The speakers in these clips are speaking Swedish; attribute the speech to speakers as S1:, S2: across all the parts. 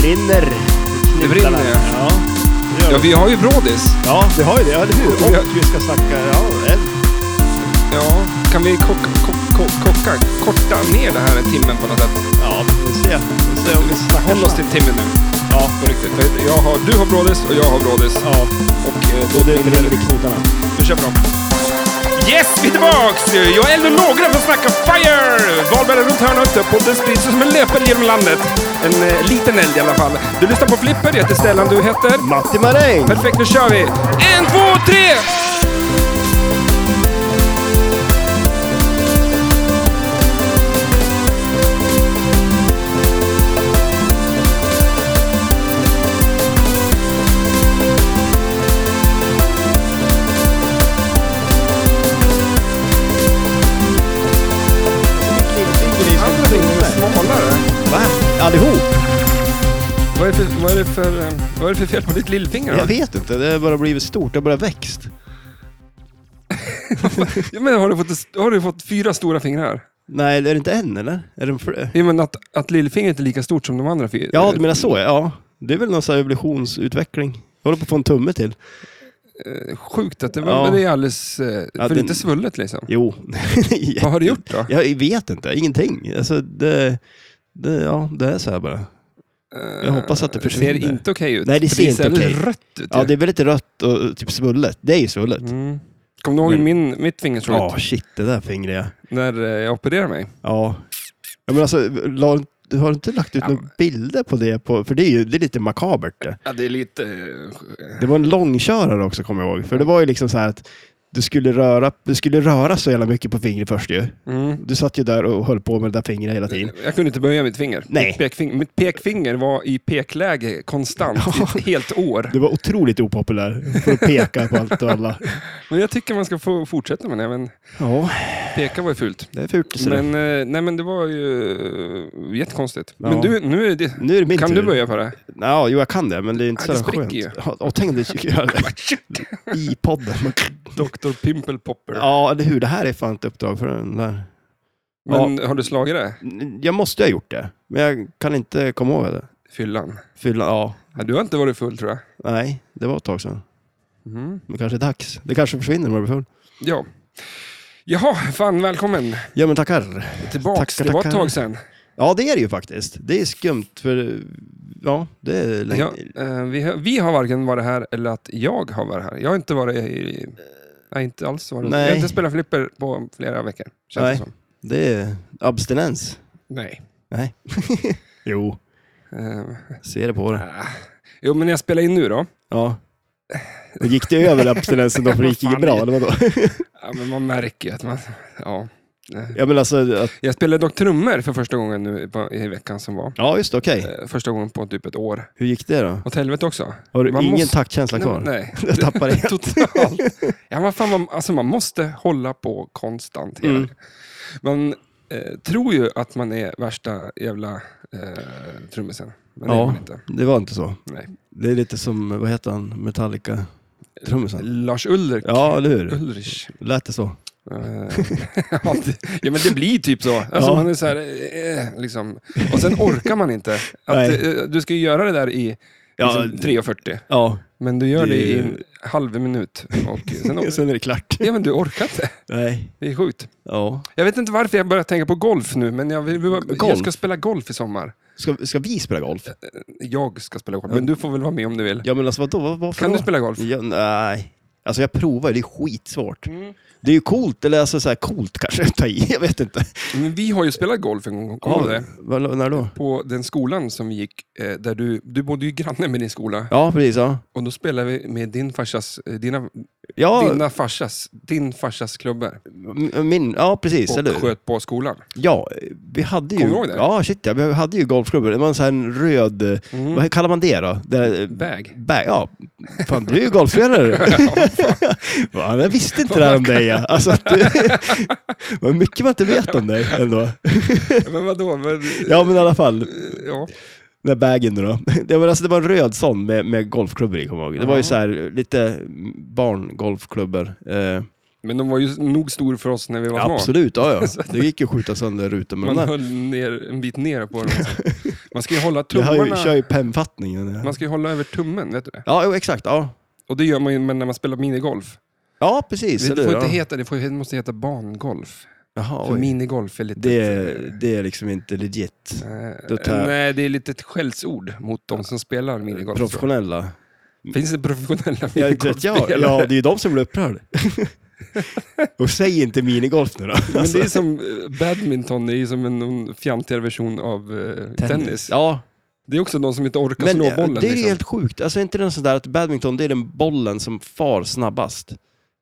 S1: brinner. i
S2: Det
S1: knutarna.
S2: brinner,
S1: ja. det gör
S2: Ja,
S1: det.
S2: vi har ju brådis.
S1: ja, vi har ju det, eller hur?
S2: Ja.
S1: Och vi ska snacka... Ja, eh,
S2: Ja, kan vi kocka, kocka, kocka, korta ner det här timmen på något sätt?
S1: ja vi får se. Vi får se om vi snackar
S2: Håll oss till
S1: snabbt.
S2: timmen nu,
S1: Ja,
S2: på riktigt. För Jag har, du har brådis och jag har brådis.
S1: ja.
S2: Och eh, då
S1: Och det brinner i knutarna.
S2: Nu kör vi dem. Yes, vi är tillbaks! Jag är Elvin Lågren för Snacka Fire! Valberg är runt hörnet och podden sprids som en löpeld genom landet. En eh, liten eld i alla fall. Du lyssnar på Flipper, jag heter Stellan, du heter?
S1: Matti Maräng!
S2: Perfekt, nu kör vi! En, två, tre! Andra fingret är smalare.
S1: Va? Allihop?
S2: Vad är, det för, vad, är det för, eh, vad är det för fel på ditt lillfinger
S1: Jag
S2: då?
S1: vet inte, det har bara blivit stort, det har bara växt.
S2: Ja, men har, du fått, har du fått fyra stora fingrar?
S1: Nej, är det inte en eller? Är det fler?
S2: Ja, men att, att lillfingret är lika stort som de andra fyra?
S1: Ja, du menar så ja. Det är väl någon sån här evolutionsutveckling. Jag håller på att få en tumme till.
S2: Sjukt att det var,
S1: Ja.
S2: men det är alldeles... eh, För det är
S1: den-
S2: inte svullet liksom.
S1: Jo.
S2: Vad har du gjort då?
S1: Jag vet inte, ingenting. Alltså, det, det, ja, det är så här bara. Jag hoppas att det
S2: Eh, Det ser
S1: försvinner.
S2: inte okej ut.
S1: Nej, det
S2: För
S1: ser inte
S2: Det ser
S1: okej.
S2: alldeles rött ut.
S1: Ja,
S2: ju.
S1: det är väldigt rött och typ svullet. Det är ju svullet.
S2: mm. Kommer du ihåg hur min, mitt finger såg
S1: Ja,
S2: ut
S1: shit, det där fingret ja.
S2: när eh, jag opererade mig?
S1: Ja. ja men alltså, la, du har inte lagt ut
S2: Ja,
S1: några bilder på det? På, för det är ju det är lite makabert det.
S2: Ja, det är lite... eh,
S1: Det var en långkörare också kommer jag ihåg. För det var ju liksom så här att du skulle röra, du skulle röra så jävla mycket på fingret först ju.
S2: Mm.
S1: Du satt ju där och höll på med det där fingret hela tiden.
S2: Jag kunde inte böja mitt finger.
S1: Nej.
S2: Mitt pekfinger, mitt pekfinger var i pekläge konstant i ett helt år.
S1: Du var otroligt opopulär för att peka på allt och alla.
S2: Men jag tycker man ska få fortsätta med det. Men
S1: Ja,
S2: peka var ju fult.
S1: det är fult. så det.
S2: Men, eh, nej, men det var ju eh, jättekonstigt.
S1: Ja.
S2: Men du, nu är det...
S1: Nu är det min
S2: Kan
S1: tur.
S2: du böja på det?
S1: Ja, jo jag kan det, men det är inte
S2: Ja, det
S1: så
S2: spricker
S1: skönt.
S2: ju.
S1: Ja, Och tänk om du skulle göra det i podden.
S2: Dr. Pimple Popper.
S1: Ja, eller hur? Det här är fan ett uppdrag för den där.
S2: Men har du slagit det?
S1: Jag måste ju ha gjort det, men jag kan inte komma ihåg det.
S2: Fyllan?
S1: Fylla, ja.
S2: Ja, du har inte varit full tror jag.
S1: Nej, det var ett tag sedan.
S2: Mm.
S1: Men kanske dags. Det kanske försvinner när man blir full.
S2: Ja. Jaha, fan välkommen
S1: Ja, men tackar.
S2: tillbaks.
S1: Tackar,
S2: det var ett
S1: tackar.
S2: tag sedan.
S1: Ja, det är det ju faktiskt. Det är skumt för... Ja, det är länge.
S2: Ja, eh, vi, har, vi har varken varit här eller att jag har varit här. Jag har inte varit i... Nej, inte alls varit.
S1: Nej.
S2: Jag har inte spelat flipper på flera veckor. Känns
S1: Nej.
S2: Det som.
S1: Det är abstinens.
S2: Nej.
S1: Nej. jo,
S2: Eh,
S1: ser det på det.
S2: jo, men jag spelar in nu då.
S1: Ja. Och gick det över abstinensen då? För det gick
S2: Vad
S1: inget
S2: fan
S1: bra,
S2: är-
S1: eller vadå?
S2: Ja, men man märker ju att man... Ja.
S1: ja, men alltså... Att,
S2: Jag spelade dock trummor för första gången nu på, i veckan som var.
S1: ja, just det, okej.
S2: Eh, Första gången på typ ett år.
S1: Hur gick det då?
S2: Åt helvete också.
S1: Har du
S2: Man
S1: ingen
S2: måste-
S1: taktkänsla kvar?
S2: Nej, nej.
S1: Jag tappar det.
S2: Totalt. Ja, men fan, man, alltså, man måste hålla på konstant. hela-
S1: Mm.
S2: Man eh, tror ju att man är värsta jävla eh, trummisen. Men det är
S1: Ja.
S2: man inte.
S1: Det var inte så.
S2: Nej.
S1: Det är lite som, vad heter han, Metallica? Trummisen?
S2: Lars Ulrik.
S1: Ja, eller hur?
S2: Ulrich.
S1: Lät det så?
S2: Eh, ja, det- ja, men det blir typ så. Alltså,
S1: Ja.
S2: man är så här, eh, liksom. Och sen orkar man inte. Att,
S1: Nej.
S2: eh, du ska ju göra det där i
S1: Ja.
S2: liksom, 3.40,
S1: Ja,
S2: men du gör det,
S1: Det är
S2: i
S1: ju-
S2: en halv minut. Och sen,
S1: sen är det klart.
S2: ja, men du orkar inte.
S1: Nej.
S2: Det är sjukt.
S1: Ja.
S2: Jag vet inte varför jag börjar tänka på golf nu, men jag, vill, jag
S1: Golf?
S2: ska spela golf i sommar.
S1: Ska, ska vi spela golf?
S2: Jag ska spela golf, men du får väl vara med om du vill.
S1: Ja, men alltså vadå? Vad- Varför
S2: Kan du
S1: då?
S2: spela golf?
S1: Ja, nej. Alltså jag provar, det är skitsvårt.
S2: Mm.
S1: Det är ju coolt, eller alltså så här coolt kanske att ta i, jag vet inte.
S2: Men vi har ju spelat golf en gång, kommer du det?
S1: Vad- när då?
S2: På den skolan som vi gick, eh, där du, du bodde ju granne med din skola.
S1: Ja, precis. Ja,
S2: Och då spelade vi med din farsas, eh, dina,
S1: ja,
S2: dina farsas, din farsas klubbor.
S1: m- min, ja precis.
S2: Och
S1: eller hur?
S2: sköt på skolan.
S1: Ja, vi hade ju...
S2: Kommer du ihåg det?
S1: Ja, shit ja, vi hade ju golfklubbor. Det var en sån här röd, eh,
S2: Mm.
S1: vad kallar man det då? Det,
S2: Bag.
S1: Bag, ja. Fan, du är ju golfspelare. Fan, jag visste inte det här om dig. Ja. Alltså, att du, vad mycket man inte vet om dig ändå.
S2: Men vadå? Men, eh,
S1: Ja, men i alla fall.
S2: ja.
S1: Den där bagen nu då. Det var, alltså, det var en röd sån med, med golfklubbor i, kommer jag ihåg. Det var ju så här lite barngolfklubbor. Eh,
S2: men de var ju nog stor för oss när vi var små.
S1: absolut, ja ja. Det gick ju att skjuta sönder rutor med
S2: Man
S1: de där.
S2: höll ner, en bit ner på dem. Man ska ju hålla
S1: Jag har ju,
S2: tummarna.
S1: kör ju pennfattningen.
S2: Man ska ju hålla över tummen, vet du det?
S1: Ja, jo, exakt. Ja,
S2: Och det gör man ju men när man spelar minigolf.
S1: ja precis.
S2: Det,
S1: eller
S2: får
S1: hur?
S2: inte
S1: Ja.
S2: heta, det, får, det måste heta bangolf.
S1: Jaha,
S2: För
S1: oj.
S2: minigolf är lite...
S1: det, är- det är liksom inte legit.
S2: Eh,
S1: då tar jag-
S2: Nej, det är lite ett skällsord mot de som spelar minigolf.
S1: Professionella.
S2: Finns Alltså. det professionella
S1: Ja, inte vet jag.
S2: minigolfspelare?
S1: ja, det är ju de som blir upprörda. Och säg inte minigolf nu då.
S2: Men
S1: Alltså,
S2: det är som eh, badminton, det är ju som en någon fjantigare version av eh, tennis.
S1: Ja,
S2: Det är också de som inte orkar
S1: men eh,
S2: slå
S1: det är
S2: bollen.
S1: ju
S2: liksom.
S1: helt sjukt. Alltså är inte den sådär att badminton, det är den bollen som far snabbast.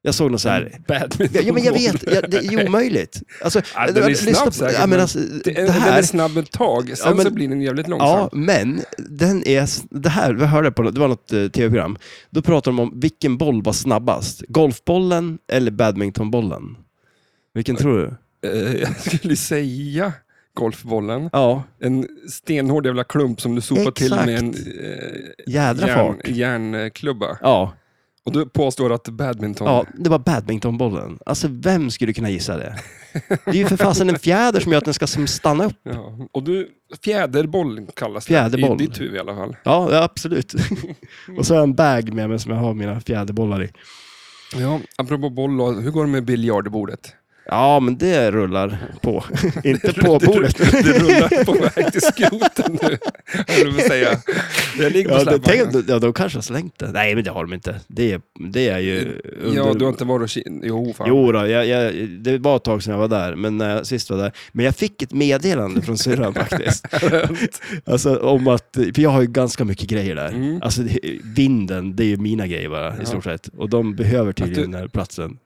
S1: Jag såg någon så här. Ja,
S2: Badminton.
S1: ja, men jag vet, ja, det är omöjligt. Alltså,
S2: Ja, den är ju snabb
S1: lyssna på-
S2: säkert,
S1: ja, men
S2: men
S1: alltså,
S2: Det,
S1: det
S2: Den är
S1: här,
S2: snabb ett tag, sen
S1: Ja, men-
S2: så blir den jävligt långsam.
S1: Ja, men den är, s- det här, vi hörde på, det var något eh, tv-program. Då pratade de om vilken boll var snabbast. Golfbollen eller badmintonbollen? Vilken tror du?
S2: Eh, Jag skulle säga golfbollen.
S1: Ja,
S2: En stenhård jävla klump som du sopar till
S1: Exakt.
S2: med en eh,
S1: jädra
S2: järn,
S1: fart.
S2: järnklubba.
S1: Ja,
S2: Och du påstår att badminton...
S1: ja, det var badmintonbollen. Alltså vem skulle kunna gissa det? Det är ju för fasen en fjäder som gör att den ska som stanna upp.
S2: Ja. Och du, fjäderboll kallas
S1: Fjäderboll.
S2: det i ditt huvud i alla fall.
S1: Ja, ja, absolut. Och så har jag en bag med mig som jag har mina fjäderbollar i.
S2: Ja, apropå boll, då, hur går det med biljardbordet?
S1: Ja, men det rullar på. Inte på
S2: Det- det-
S1: bordet.
S2: Det rullar på väg till skroten nu, höll jag på att säga. Jag ligger på
S1: Ja, det,
S2: släpvagnen.
S1: tänk, om- ja, de kanske har slängt det. Nej, men det har de inte. Det är, det är ju... Under...
S2: Ja, du har inte varit och ki- Jo, fan.
S1: Jo då, jag, jag, det var ett tag sedan jag var där, men när jag sist var där. Men jag fick ett meddelande från syrran faktiskt. alltså om att, för jag har ju ganska mycket grejer där.
S2: Mm.
S1: Alltså det, vinden, det är ju mina grejer bara
S2: Ja.
S1: i stort sett. Och de behöver tydligen
S2: Att du-
S1: den här platsen.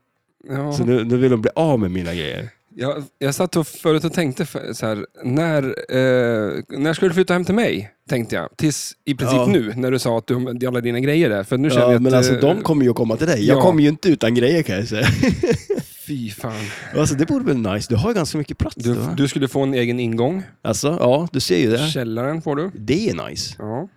S2: Ja.
S1: Så nu, nu vill de bli av med mina grejer.
S2: Jag, jag satt och förut och tänkte för- så här, när, eh, när ska du flytta hem till mig? Tänkte jag, tills i princip
S1: Ja.
S2: nu när du sa att du hade alla dina grejer där. För nu känner
S1: Ja,
S2: jag
S1: men
S2: att,
S1: alltså
S2: eh,
S1: de kommer ju att komma till dig.
S2: ja.
S1: Jag kommer ju inte utan grejer kan jag säga.
S2: Fy fan.
S1: alltså det vore väl nice, du har ju ganska mycket plats.
S2: Du,
S1: Du, va?
S2: du skulle få en egen ingång.
S1: Alltså, ja, du ser ju det.
S2: Källaren får du.
S1: Det är nice.
S2: Ja.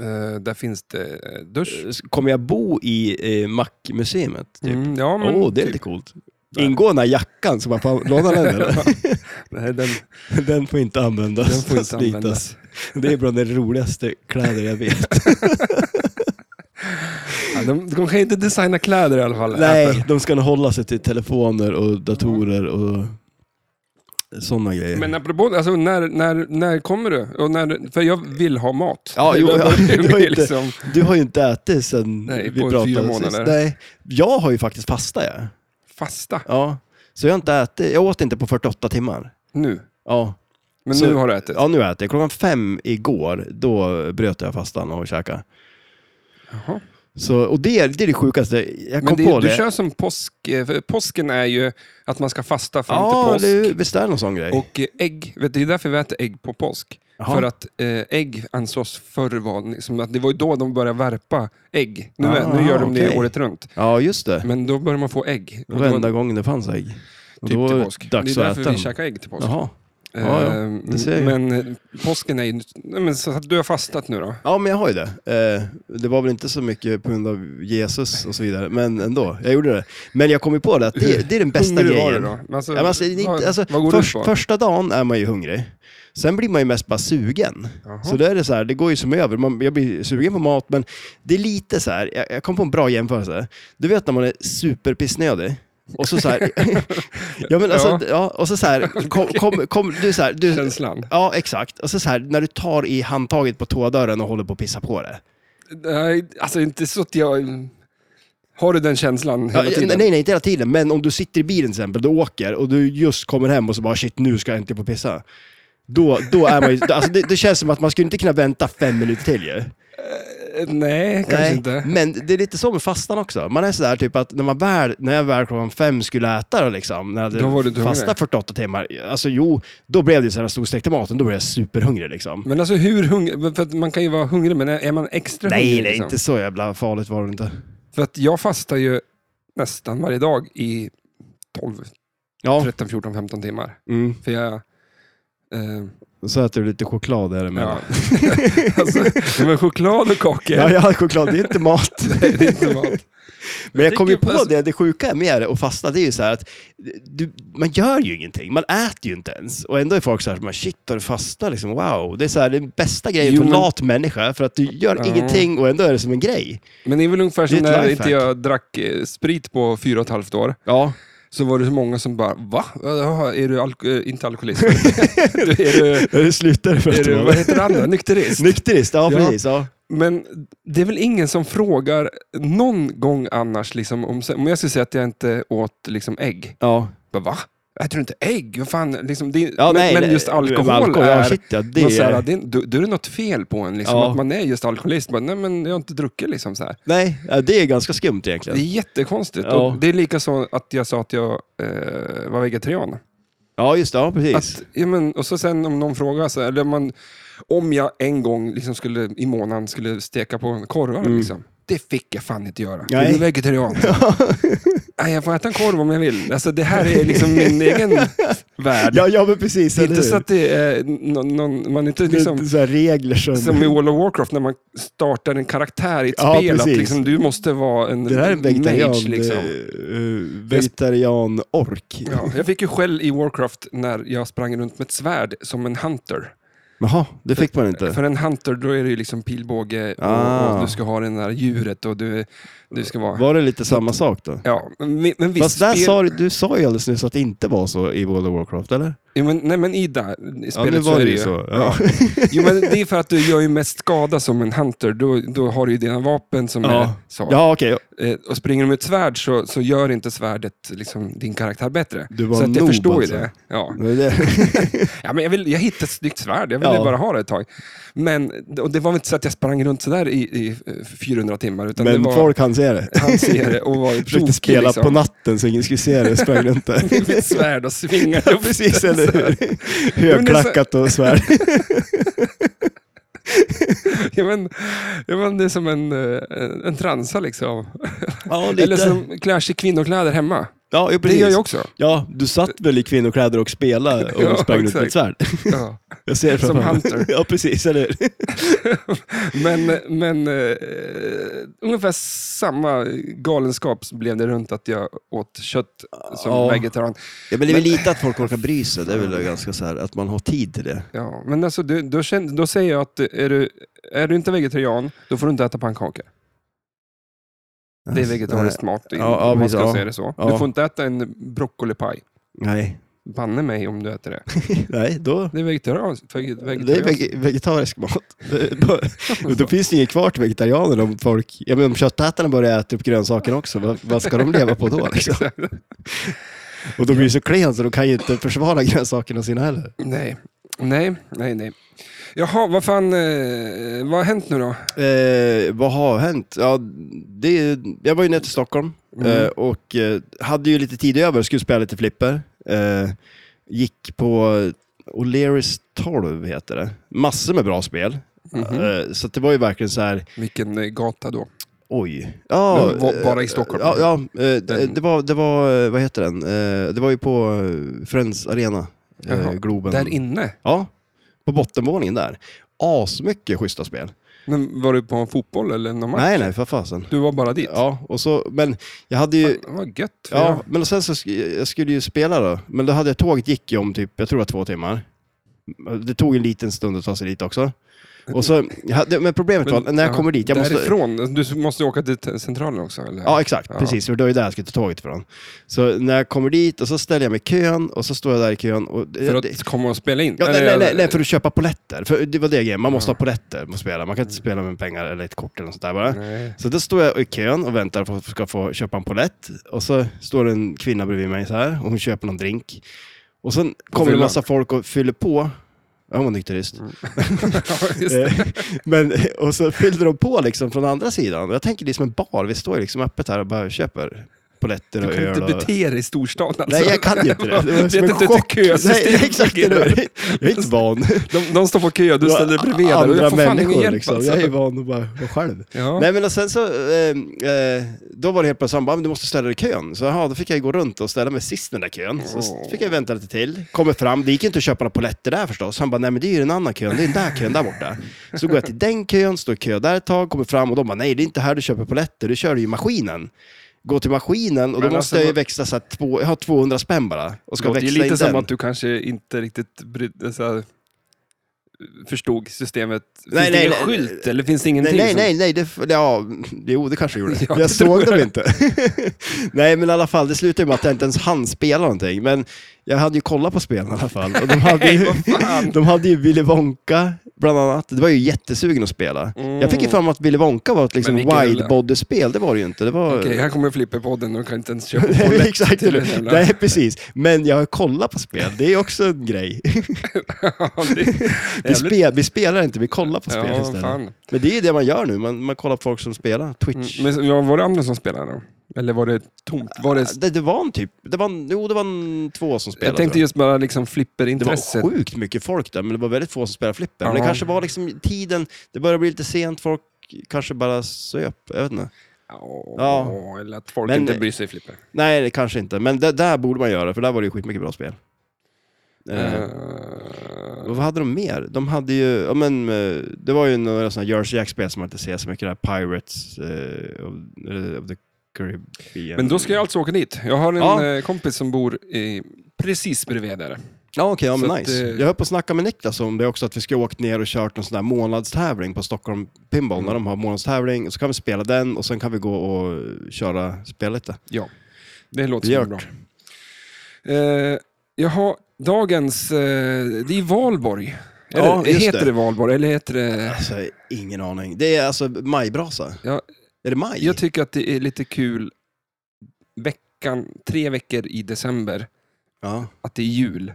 S2: Eh, där finns det eh, dusch.
S1: Kommer jag bo i eh, Mac-museet? Typ?
S2: Mm, ja,
S1: Åh,
S2: men
S1: det är
S2: typ.
S1: lite coolt. Ingår den här jackan som man får låna den eller?
S2: Nej, den,
S1: Den får inte användas.
S2: den får inte
S1: Slitas.
S2: användas.
S1: Det är bland de roligaste kläder jag vet.
S2: Ja, de, de kan inte designa kläder i alla fall. Apple.
S1: Nej, de ska nog hålla sig till telefoner och datorer och sådana grejer.
S2: Men apropå, alltså, när, när, när kommer du? Och när, för jag vill ha mat.
S1: Ja,
S2: Det
S1: jo,
S2: var-
S1: ja,
S2: det
S1: det var
S2: var
S1: inte-
S2: liksom-
S1: Du har ju inte ätit sedan
S2: Nej,
S1: vi
S2: på
S1: pratade
S2: fyra
S1: sist.
S2: månader.
S1: Nej, jag har ju faktiskt fasta jag.
S2: Fasta
S1: Ja. Så jag har inte ätit, jag åt inte på 48 timmar.
S2: nu.
S1: Ja,
S2: Men
S1: Så-
S2: nu har du ätit.
S1: ja nu äter jag. Klockan fem igår, då bröt jag fastan och käkade.
S2: Jaha.
S1: Så, och det, är- det är det sjukaste, jag
S2: Men
S1: kom
S2: det,
S1: på
S2: du
S1: det.
S2: kör som påsk. eh, för Påsken är ju att man ska fasta fram
S1: Ja,
S2: till
S1: eller hur?
S2: påsk.
S1: visst är det någon sån grej?
S2: Och eh, ägg, vet du, det är därför vi äter ägg på påsk.
S1: Jaha.
S2: För att eh, ägg ansågs förr vara, liksom, att det var ju då de började värpa ägg. Nu, är,
S1: Ah,
S2: nu gör de det
S1: okej.
S2: året runt.
S1: Ja, just det.
S2: Men då börjar man få ägg. Och då,
S1: Varenda gång det fanns ägg. Och
S2: typ
S1: då
S2: till
S1: var
S2: påsk. Det
S1: dags
S2: är
S1: att
S2: därför
S1: äta
S2: vi
S1: den.
S2: käkar ägg till påsk.
S1: Jaha. Ja, ja,
S2: Ehm,
S1: det ser jag ju.
S2: men eh, påsken är ju... nej, Men, så att du har fastat nu då?
S1: Ja, men jag har ju det. Eh, det var väl inte så mycket på grund av Jesus och så vidare, men ändå. Jag gjorde det. Men jag kom ju på det att det, det är den bästa
S2: Hungrig var du
S1: grejen.
S2: då? Men Alltså,
S1: Ja, men alltså, det är inte-
S2: vad,
S1: alltså,
S2: vad går
S1: först,
S2: du på?
S1: första dagen är man ju hungrig. Sen blir man ju mest bara sugen.
S2: Jaha.
S1: Så då är det så här, det går ju som över. Man, jag blir sugen på mat, men det är lite så här, jag, jag kom på en bra jämförelse. Du vet när man är superpissnödig. Och så så här, ja, men alltså,
S2: Ja.
S1: ja. och så så här, kom, kom, kom, du så här, du,
S2: Känslan?
S1: ja exakt. Och så så här, när du tar i handtaget på toadörren och håller på att pissa på det.
S2: Nej, alltså inte så att jag... Har du den känslan hela
S1: Ja,
S2: tiden?
S1: nej, nej, inte hela tiden, men om du sitter i bilen till exempel, du åker och du just kommer hem och så bara shit, nu ska jag äntligen på pissa. Då, då är man ju, alltså det, det känns som att man skulle inte kunna vänta fem minuter till ju.
S2: Eh, nej, kanske
S1: Nej,
S2: inte.
S1: Men det är lite så med fastan också. Man är sådär typ att när, man väl, när jag väl klockan fem skulle äta då liksom, när jag
S2: Då var du
S1: hade
S2: inte
S1: fastat
S2: hungrig.
S1: 48 timmar, alltså jo, då blev det ju sådär storstekta maten, då blev jag superhungrig liksom.
S2: Men alltså hur hungrig? För att man kan ju vara hungrig, men är man extra
S1: Nej,
S2: hungrig?
S1: nej,
S2: liksom?
S1: inte så jävla farligt var det inte.
S2: För att jag fastar ju nästan varje dag i 12,
S1: Ja,
S2: 13, 14, 15 timmar.
S1: mm.
S2: För jag... Eh,
S1: så äter du lite choklad däremellan.
S2: ja. alltså, men choklad och kakor,
S1: Ja, ja, choklad, det är inte mat.
S2: det är inte mat.
S1: Men jag kom ju
S2: tycker-
S1: på
S2: alltså-
S1: det, det sjuka med att fasta, det är ju så här att du, man gör ju ingenting, man äter ju inte ens. Och ändå är folk så här, man, shit har du fastat liksom, wow. Det är så här, den bästa grejen
S2: Jo,
S1: för en
S2: men-
S1: lat människa, för att du gör
S2: Ja.
S1: ingenting och ändå är det som en grej.
S2: Men det är väl ungefär
S1: Det är
S2: som
S1: ett
S2: när
S1: lifehack.
S2: inte jag drack eh, sprit på fyra och ett halvt år.
S1: Ja. så
S2: Så var det så många som bara, va? Jaha, Är du alko- eh, inte alkoholist? är du,
S1: Är det slutar för
S2: är
S1: att
S2: du, vad
S1: du
S2: heter det andra? Nykterist?
S1: Nykterist, ja
S2: Ja.
S1: precis. Ja.
S2: Men det är väl ingen som frågar någon gång annars, liksom, om, om jag skulle säga att jag inte åt liksom, ägg.
S1: Ja,
S2: Bara, va? Äter du inte ägg? Vad fan? Liksom, det,
S1: ja
S2: men,
S1: nej,
S2: men
S1: nej.
S2: just alkohol,
S1: ja,
S2: är...
S1: shit, ja, det
S2: man så här,
S1: är...
S2: det är- då, då är det något fel på en, liksom,
S1: Ja.
S2: att man är just alkoholist. Bara, nej, men jag har inte druckit. Liksom, så här.
S1: Nej, ja, det är ganska skumt
S2: Det är
S1: egentligen.
S2: jättekonstigt.
S1: Ja.
S2: Och det är lika så att jag sa att jag eh, var vegetarian.
S1: Ja, just det. Ja, precis.
S2: Att, ja, men, och så sen om någon frågar, så här, eller om man, om jag en gång liksom skulle, i månaden skulle steka på korvar, liksom. det fick jag fan inte göra. Jag
S1: Mm. Nej.
S2: är vegetarian. Nej, jag får äta en korv om jag vill. Alltså, det här är liksom min egen värld.
S1: Ja, ja, men precis.
S2: det är
S1: eller
S2: inte så
S1: hur?
S2: att det är någon, någon, man är inte
S1: Det är
S2: liksom...
S1: inte så här regler som...
S2: Som i World of Warcraft när man startar en karaktär i ett
S1: Ja,
S2: spel, att
S1: precis.
S2: liksom, du måste vara en
S1: Det där är en
S2: mage.
S1: vegetarian,
S2: Liksom.
S1: eh, vegetarian ork.
S2: Ja, jag fick ju skäll i Warcraft när jag sprang runt med ett svärd som en hunter.
S1: Jaha, det fick man inte.
S2: För en hunter, då är det ju liksom pilbåge och,
S1: Eh. Ah.
S2: och du ska ha det där djuret och du, du ska vara...
S1: Var det lite samma sak då?
S2: Ja, men, men visst,
S1: Fast där
S2: spel-
S1: sa du, du sa ju alldeles nyss att det inte var så i World of Warcraft, eller?
S2: Jo, men, nej, men i där, i
S1: Ja,
S2: spelet
S1: nu
S2: så
S1: var
S2: är
S1: det ju så. Ja.
S2: Jo, men det är för att du gör ju mest skada som en hunter. Då, då har du ju dina vapen som är
S1: Ja,
S2: så.
S1: ja okej.
S2: Eh, och springer du med ett svärd så, så gör inte svärdet liksom, din karaktär bättre.
S1: Du var
S2: så att jag
S1: noob,
S2: förstår ju
S1: alltså.
S2: det. Ja.
S1: Det är det.
S2: Ja, men jag, vill, jag hittade ett snyggt svärd, jag ville
S1: Ja.
S2: bara ha det ett tag. Men, och det var väl inte så att jag sprang runt sådär i, i eh, 400 timmar, utan det
S1: Men
S2: var,
S1: folk hann se det.
S2: han ser det och var
S1: Försökte
S2: tokig,
S1: spela
S2: liksom.
S1: på natten så ingen skulle se det, sprang runt där.
S2: med ett svärd och svingade
S1: Ja,
S2: upp
S1: precis,
S2: det,
S1: eller
S2: så här.
S1: hur? Högklackat och svär.
S2: Ja, men, ja, men det är som en, eh, en, en transa liksom.
S1: Ja,
S2: Eller som klär sig i kvinnokläder hemma.
S1: Ja, jo,
S2: Det gör
S1: precis.
S2: jag också.
S1: Ja, du satt väl i kvinnokläder och spelade och
S2: Ja,
S1: sprang runt med
S2: exakt.
S1: ett svärd.
S2: Ja.
S1: Jag ser det
S2: Som
S1: framför mig.
S2: hunter.
S1: Ja, precis, eller hur?
S2: Men, men eh, ungefär samma galenskap blev det runt att jag åt kött som
S1: Ja.
S2: vegetarian.
S1: Ja, men det är
S2: Men-
S1: väl lite att folk orkar bry sig. Det är väl ganska så här att man har tid till det.
S2: Ja, men alltså, du, då, känner, då säger jag att är du, är du inte vegetarian, då får du inte äta pannkaka. Det är vegetarisk mat,
S1: Ja, ja,
S2: om man
S1: precis,
S2: ska
S1: ja.
S2: säga det så. Du
S1: Ja.
S2: får inte äta en broccolipaj.
S1: Nej,
S2: Banne mig om du äter det.
S1: nej då.
S2: Det är vegetarianskt. Veget,
S1: Det är
S2: vegetarianskt.
S1: veg- vegetarisk mat. Det är bara- Och då finns det inget kvar till vegetarianer om folk, ja men om köttätarna börjar äta upp grönsakerna också, vad, vad ska de leva på då liksom? Och de blir ju så klen så de kan ju inte försvara grönsakerna sina heller.
S2: Nej, nej, nej, nej. Jaha, vad fan, eh, vad har hänt nu då?
S1: Eh, vad har hänt? Ja, det, är- jag var ju nere till Stockholm eh, och eh, hade ju lite tid över och skulle spela lite flipper. Eh, gick på O'Learys 12 heter det. Massor med bra spel. Eh, så att det var ju verkligen så här,
S2: Vilken eh, gata då?
S1: oj. Ja,
S2: Men var-
S1: eh,
S2: bara i Stockholm?
S1: Ja, ja eh, det, det, var, det var, eh, vad heter den? Eh, det var ju på eh, Friends Arena, eh,
S2: Jaha,
S1: Globen.
S2: Där inne?
S1: Ja, på bottenvåningen där. Asmycket schyssta spel.
S2: Men var du på fotboll eller någon match?
S1: Nej, nej, för fasen.
S2: Du var bara dit?
S1: Ja, och så, men jag hade ju...
S2: Fan, Vad gött. för
S1: Ja,
S2: jag-
S1: men och sen så sk- jag skulle ju spela då, men då hade jag tåget gick ju om typ, jag tror det var två timmar. Det tog en liten stund att ta sig dit också. Och så, jag hade, men problemet var, när jag
S2: ja,
S1: kommer dit, jag måste...
S2: Därifrån? Du måste åka till centralen också? Eller?
S1: Ja, exakt.
S2: Ja.
S1: Precis, för det var ju där jag skulle ta tåget ifrån. Så när jag kommer dit och så ställer jag mig i kön och så står jag där i kön och...
S2: För
S1: det-
S2: att komma och spela in?
S1: Ja, nej,
S2: Eller-
S1: nej, nej, nej, för att köpa poletter. För det var det grejen, man måste ha poletter för att spela. Man kan inte spela med pengar eller ett kort eller något sånt där bara.
S2: Nej.
S1: Så då står jag i kön och väntar på att ska få köpa en polett. Och så står det en kvinna bredvid mig så här och hon köper någon drink. Och sen kommer det en
S2: fyllan.
S1: massa folk och fyller på. Ja, hon var nykterist.
S2: Ja, just det.
S1: Eh, Men, liksom och så fyllde de på liksom från andra sidan. Jag tänker det är som en bar, vi står ju liksom öppet här och bara köper. polletter och
S2: Du kan
S1: öl.
S2: inte
S1: Och...
S2: bete dig i storstan alltså.
S1: Nej, jag kan ju inte det. Det var
S2: Vet
S1: som en
S2: inte hur
S1: chock.
S2: kösystem
S1: Nej, exakt. det
S2: fungerar.
S1: där. Jag är inte van.
S2: De, de står på kö, du ställer dig bredvid. där, och
S1: Andra
S2: jag får fan ingen
S1: människor
S2: hjälp
S1: liksom.
S2: alltså.
S1: Jag är van att bara vara själv.
S2: Ja.
S1: Nej men och sen så, eh, eh, då var det helt plötsligt han bara, "Men du måste ställa dig i kön. Så jaha, då fick jag gå runt och ställa mig sist i den där kön. Så s- fick jag vänta lite till, kommer fram, det gick ju inte att köpa några polletter där förstås. Han bara, nej men det är ju den andra kön, det är den där kön där borta. Så går jag till den kön, står i kö där ett tag, kommer fram och de bara, nej det är inte här du köper polletter, du kör ju i maskinen. Gå till maskinen och då
S2: Men
S1: måste
S2: alltså,
S1: jag ju
S2: vad-
S1: växla så här, två, jag har 200 spänn bara. Och ska
S2: det är
S1: växla
S2: lite
S1: in
S2: som
S1: den.
S2: att du kanske inte riktigt brydde, så här, förstod systemet. Finns
S1: Nej,
S2: det
S1: nej,
S2: ingen
S1: nej.
S2: skylt eller finns det ingenting?
S1: Nej, nej,
S2: som-
S1: nej, nej, det, ja, jo det kanske gjorde.
S2: Ja,
S1: jag
S2: jag
S1: såg
S2: tror
S1: dem
S2: det.
S1: inte. nej, men i alla fall, det slutade med att jag inte ens hann spela någonting. Men jag hade ju kollat på spelen i alla fall. Och de, hade ju,
S2: vad fan.
S1: de hade ju Willy Wonka, bland annat. Det var ju jättesugen att spela. Jag fick ju fram att Willy Wonka var ett liksom,
S2: Mm. Men vilken jävla-
S1: widebody-spel, det var det ju inte. Det var...
S2: Okej, här kommer Flipper-podden och du kan inte ens köpa
S1: Nej,
S2: toalett
S1: Exakt,
S2: till
S1: eller-
S2: den jävla-
S1: nej precis. Men jag har kollat på spel, det är också en grej.
S2: Ja, det är
S1: Vi,
S2: jävligt-
S1: spel, vi spelar inte, vi kollar på spel
S2: Ja,
S1: istället.
S2: fan. Mm.
S1: Men det är ju det man gör nu, man, man kollar på folk som spelar, Twitch.
S2: Men ja, var det andra som spelade då? Eller var det tomt? Var det...
S1: Det, det var en typ, det var, en- jo det var en två som spelade.
S2: Jag tänkte
S1: tror jag.
S2: just bara liksom
S1: det var
S2: flipperintresset.
S1: sjukt mycket folk där, men det var väldigt få som spelade flipper. Men det
S2: Ja.
S1: kanske var liksom tiden, det började bli lite sent, folk kanske bara söp, jag vet inte. Ja.
S2: Ja, eller att folk
S1: Men- eh,
S2: inte bryr sig i flipper.
S1: Nej, det kanske inte, men det, där borde man göra, för där var det ju skitmycket bra spel. Eh,
S2: Eh,
S1: vad hade de mer? De hade ju, ja men, eh, det var ju några sådana Jersey Jack-spel som man inte ser så mycket, där Pirates eh, of, eh, of the Caribbean.
S2: Men då ska jag alltså åka dit. Jag har en
S1: Ja.
S2: eh, kompis som bor i, precis bredvid där.
S1: Ja, okej, ja,
S2: Så
S1: men
S2: att,
S1: nice.
S2: eh,
S1: Jag höll på att snacka med Niklas om det också, att vi ska åkt ner och kört en sån där månadstävling på Stockholm Pinball,
S2: Mm.
S1: när de har månadstävling. Så kan vi spela den och sen kan vi gå och köra spel lite.
S2: Ja, det låter
S1: Det
S2: som
S1: är
S2: är bra. Eh, jaha, dagens... Eh, det är Valborg. Eller,
S1: Ja, just
S2: heter
S1: det.
S2: det. Valborg? Eller heter det...
S1: Alltså, ingen aning. Det är alltså majbrasa.
S2: Ja.
S1: Är det maj?
S2: Jag tycker att det är lite kul veckan, tre veckor i december,
S1: ja.
S2: att det är jul.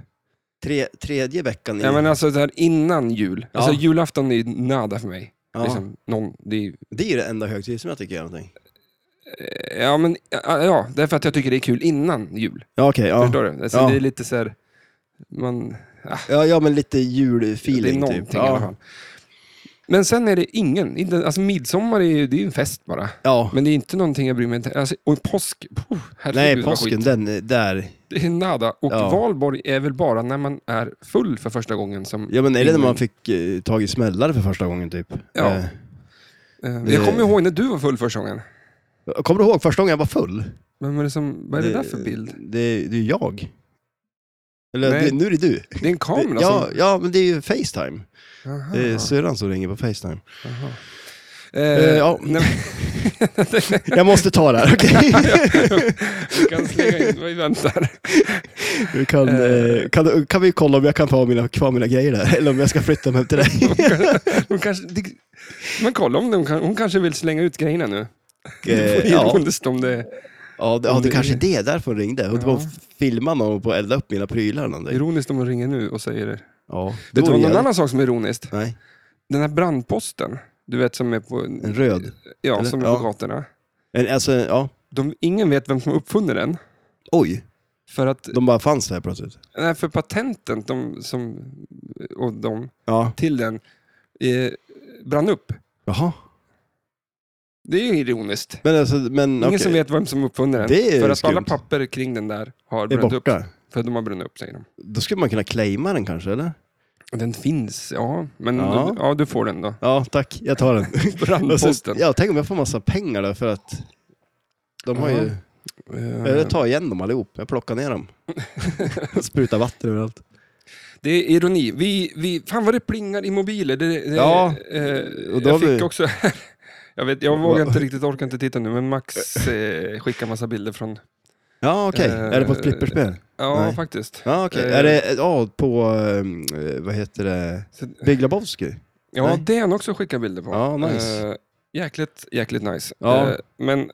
S1: Tre, tredje veckan i...
S2: Ja, men alltså det här innan jul. Alltså
S1: Ja.
S2: julafton är nada för mig.
S1: Ja.
S2: Liksom, någon, det är,
S1: Det är ju det enda högtid som jag tycker är någonting.
S2: ja, men ja, ja, det är för att jag tycker det är kul innan jul.
S1: Ja, okej.
S2: Förstår
S1: ja.
S2: du? Alltså,
S1: Ja.
S2: Det är lite så här, man,
S1: Ja, ja, men lite
S2: det är
S1: julfeeling
S2: någonting
S1: typ.
S2: i alla
S1: Ja.
S2: fall. Men sen är det ingen, inte, alltså midsommar är ju, det är ju en fest bara.
S1: ja.
S2: Men det är inte någonting jag bryr mig om. Alltså, och påsk, puh, herregud
S1: Nej,
S2: vad skit.
S1: påsken, den är där.
S2: Det är nada. Och
S1: Ja.
S2: valborg är väl bara när man är full för första gången som...
S1: Ja, men är det när man fick eh, tag i smällare för första gången typ?
S2: Mm. Ja.
S1: Eh,
S2: Eh, Jag kommer ihåg när du var full första gången.
S1: Kommer du ihåg första gången jag var full?
S2: Men vad är det, som, vad är det, där för bild?
S1: Det, det är ju jag. Eller
S2: Nej.
S1: det, nu är det du.
S2: Det är en kamera
S1: ja,
S2: som...
S1: ja, men det är ju Facetime.
S2: Aha,
S1: Det är syrran som ringer på Facetime.
S2: aha.
S1: Eh, ja.
S2: nej, men-
S1: Jag måste ta det här, okej?
S2: vi kan slänga in, vi väntar.
S1: Du Kan, eh, kan, kan vi kolla om jag kan ta mina, kvar mina grejer där? Eller om jag ska flytta dem hem till dig?
S2: Hon kanske, det, men kolla om de kan, hon kanske vill slänga ut grejerna nu.
S1: Eh,
S2: Det
S1: ja,
S2: är ironiskt om det
S1: ja, det, ja, det kanske är det därför hon ringde. Hon
S2: Ja.
S1: ja. filmade någon och elda upp mina prylar eller någonting.
S2: ironiskt om de ringer nu och säger det.
S1: Ja,
S2: Det
S1: då
S2: var
S1: är
S2: någon
S1: jag-
S2: annan sak som är ironiskt.
S1: Nej,
S2: Den här brandposten, du vet som är på,
S1: en röd.
S2: ja,
S1: eller?
S2: som är
S1: Ja.
S2: på gatorna.
S1: En, alltså, ja.
S2: De, ingen vet vem som har uppfunnit den.
S1: Oj,
S2: För att
S1: de bara fanns här plötsligt.
S2: Nej, för patenten de, som, och de
S1: Ja,
S2: till den eh, brann upp.
S1: jaha.
S2: Det är ju ironiskt.
S1: Men alltså, men
S2: Ingen
S1: okej.
S2: som vet vem som uppfunnit den.
S1: Det är
S2: för att alla
S1: skumt.
S2: papper kring den där har
S1: Det är
S2: brunnit upp.
S1: borta.
S2: För de har brunnit upp, säger de.
S1: Då skulle man kunna claima den kanske, eller?
S2: Och Den finns, ja. Men
S1: Ja.
S2: Du, ja, du får den då.
S1: Ja, tack. Jag tar den.
S2: Brandposten.
S1: ja, tänk om jag får massa pengar då för att de har ju...
S2: Eh,
S1: Jag tar igen dem allihop. Jag plockar ner dem. Sprutar vatten överallt.
S2: Det är ironi. Vi, vi, fan vad det plingar i mobiler. Det, det,
S1: Ja,
S2: eh,
S1: och då har
S2: jag fick
S1: vi-
S2: också... jag, vet, jag vågar inte riktigt, orkar inte titta nu, men Max eh, skickar massa bilder från...
S1: Ja, okej.
S2: Eh,
S1: Är det på ett flipperspel?
S2: Ja,
S1: Nej.
S2: faktiskt.
S1: Ja, okej.
S2: eh.
S1: Är det ja, på, eh, vad heter det,
S2: Så-
S1: Big Lebowski?
S2: Ja,
S1: Nej.
S2: det har han också skickat bilder på.
S1: Ja, nice.
S2: Eh, jäkligt, jäkligt nice.
S1: Ja.
S2: Eh, men, eh,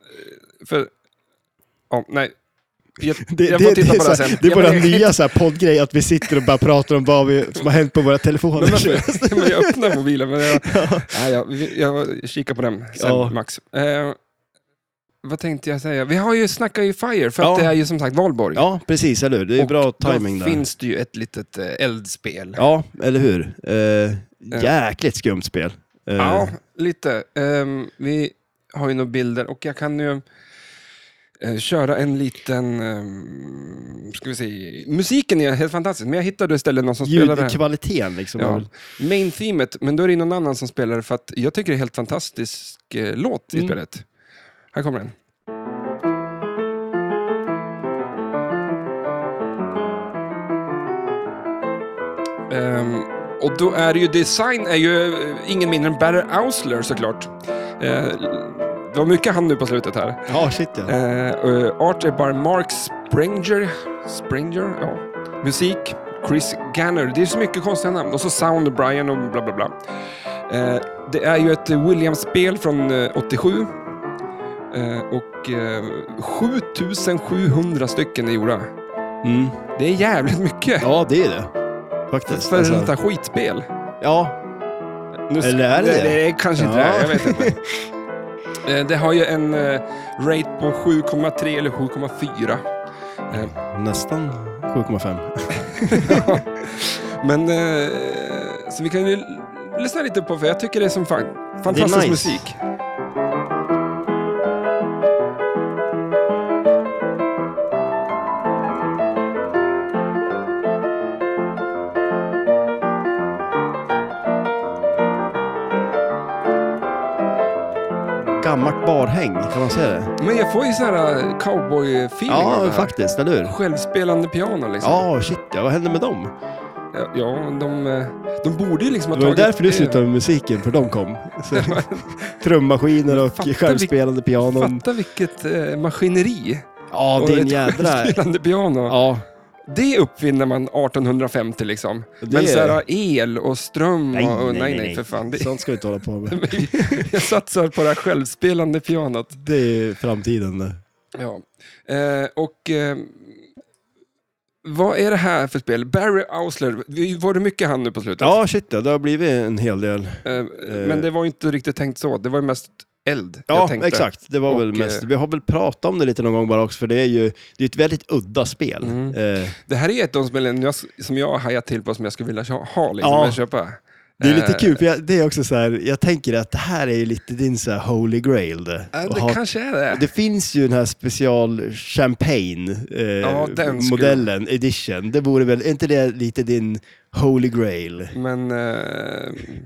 S2: för... Ja, nej. Jag,
S1: Det,
S2: jag
S1: det,
S2: får
S1: det,
S2: titta
S1: är
S2: på det här
S1: så här-
S2: sen.
S1: det är
S2: Jag-
S1: vår
S2: jag-
S1: nya så här poddgrej, att vi sitter och bara pratar om vad vi, som har hänt på våra
S2: Men
S1: telefoner.
S2: varför? men jag öppnar mobilen. Men jag, nej, jag, jag kikar på den sen,
S1: Ja.
S2: Max. Eh, vad tänkte jag säga? Vi har ju snackat ju Fire, för att
S1: Ja.
S2: det är ju som sagt Valborg.
S1: Ja, precis, eller hur? Det är
S2: Och
S1: bra timing
S2: då
S1: där.
S2: finns det ju ett litet eh, eldspel.
S1: Ja, eller hur? Eh, jäkligt skumt spel. Eh,
S2: Ja, lite. Ehm, vi har ju några bilder och jag kan ju eh, köra en liten... Um, ska vi se. Musiken är helt fantastisk, men jag hittade istället någon som spelade...
S1: Ljudkvaliteten liksom.
S2: Ja, main themet, men då är det någon annan som spelar för att jag tycker det är helt fantastisk eh, låt i
S1: Mm.
S2: spelet. Här kommer den. Ehm, och då är det ju design är ju eh, ingen mindre än Barry Ausler såklart. Eh, det var mycket han nu på slutet här.
S1: Ja, shit ja.
S2: Eh, eh, art är by Mark Springer. Springer? Ja. Musik, Chris Ganner. Det är så mycket konstiga namn. Och så Sound, Brian och bla bla bla. Eh, det är ju ett eh, Williams-spel från eh, 87. Eh, och eh, 7700 stycken är gjorda.
S1: Mm.
S2: Det är jävligt mycket
S1: Ja, det är det. Faktiskt.
S2: för
S1: alltså.
S2: ett sånt här skitspel.
S1: Ja,
S2: Nu, s-
S1: Eller är det det?
S2: Det är kanske inte
S1: Ja.
S2: det, jag vet inte. Eh, det har ju en eh, rate på 7,3 eller 7,4.
S1: nästan 7,5.
S2: Men, eh, så vi kan ju lyssna lite på, för jag tycker det är som fan, fantastisk
S1: nice.
S2: musik.
S1: Gammalt barhäng, kan man säga det?
S2: Men jag får ju sån här eh, cowboy-feeling av
S1: Ja,
S2: det här.
S1: faktiskt, eller hur?
S2: Självspelande piano liksom.
S1: Ja, shit ja. Vad hände med dem?
S2: Ja, ja de, eh, de borde ju liksom ha
S1: Det var ju
S2: tagit...
S1: därför du slutade med musiken, för de kom. Så, trummaskiner
S2: Fattar vi-
S1: och självspelande pianon.
S2: Fatta vilket eh, maskineri.
S1: Ja,
S2: Och
S1: din
S2: ett
S1: jädra...
S2: Spelande piano.
S1: Ja,
S2: Det uppfinner man 1850 liksom. Men
S1: är-
S2: så här el och ström
S1: nej,
S2: och...
S1: nej, nej, nej.
S2: för fan. Det,
S1: Sånt ska vi inte hålla på med.
S2: jag satsar på det här självspelande pianot.
S1: Det är framtiden det.
S2: Ja. Eh, och eh, vad är det här för spel? Barry Ausler, vi- var det mycket han nu på slutet?
S1: Ja, shit ja. Det har blivit en hel del.
S2: Eh, men det var ju inte riktigt tänkt så, det var ju mest eld. jag
S1: Ja,
S2: tänkte.
S1: exakt. Det var
S2: Och,
S1: väl mest. Vi har väl pratat om det lite någon gång bara också, för det är ju det är ett väldigt udda spel.
S2: Mm.
S1: Eh,
S2: Det här är ett av de spelen jag, som jag har hajat till på som jag skulle vilja ha- ha liksom,
S1: Ja.
S2: eller köpa.
S1: det är lite
S2: Eh,
S1: kul, för jag, det är också så här, jag tänker att det här är ju lite din så här holy grail. Det,
S2: eh,
S1: Att
S2: det
S1: ha-
S2: kanske är det.
S1: det finns ju den här special champagne eh,
S2: Ja, den skulle-
S1: modellen, edition. Det vore väl, är inte det lite din holy grail?
S2: Men eh,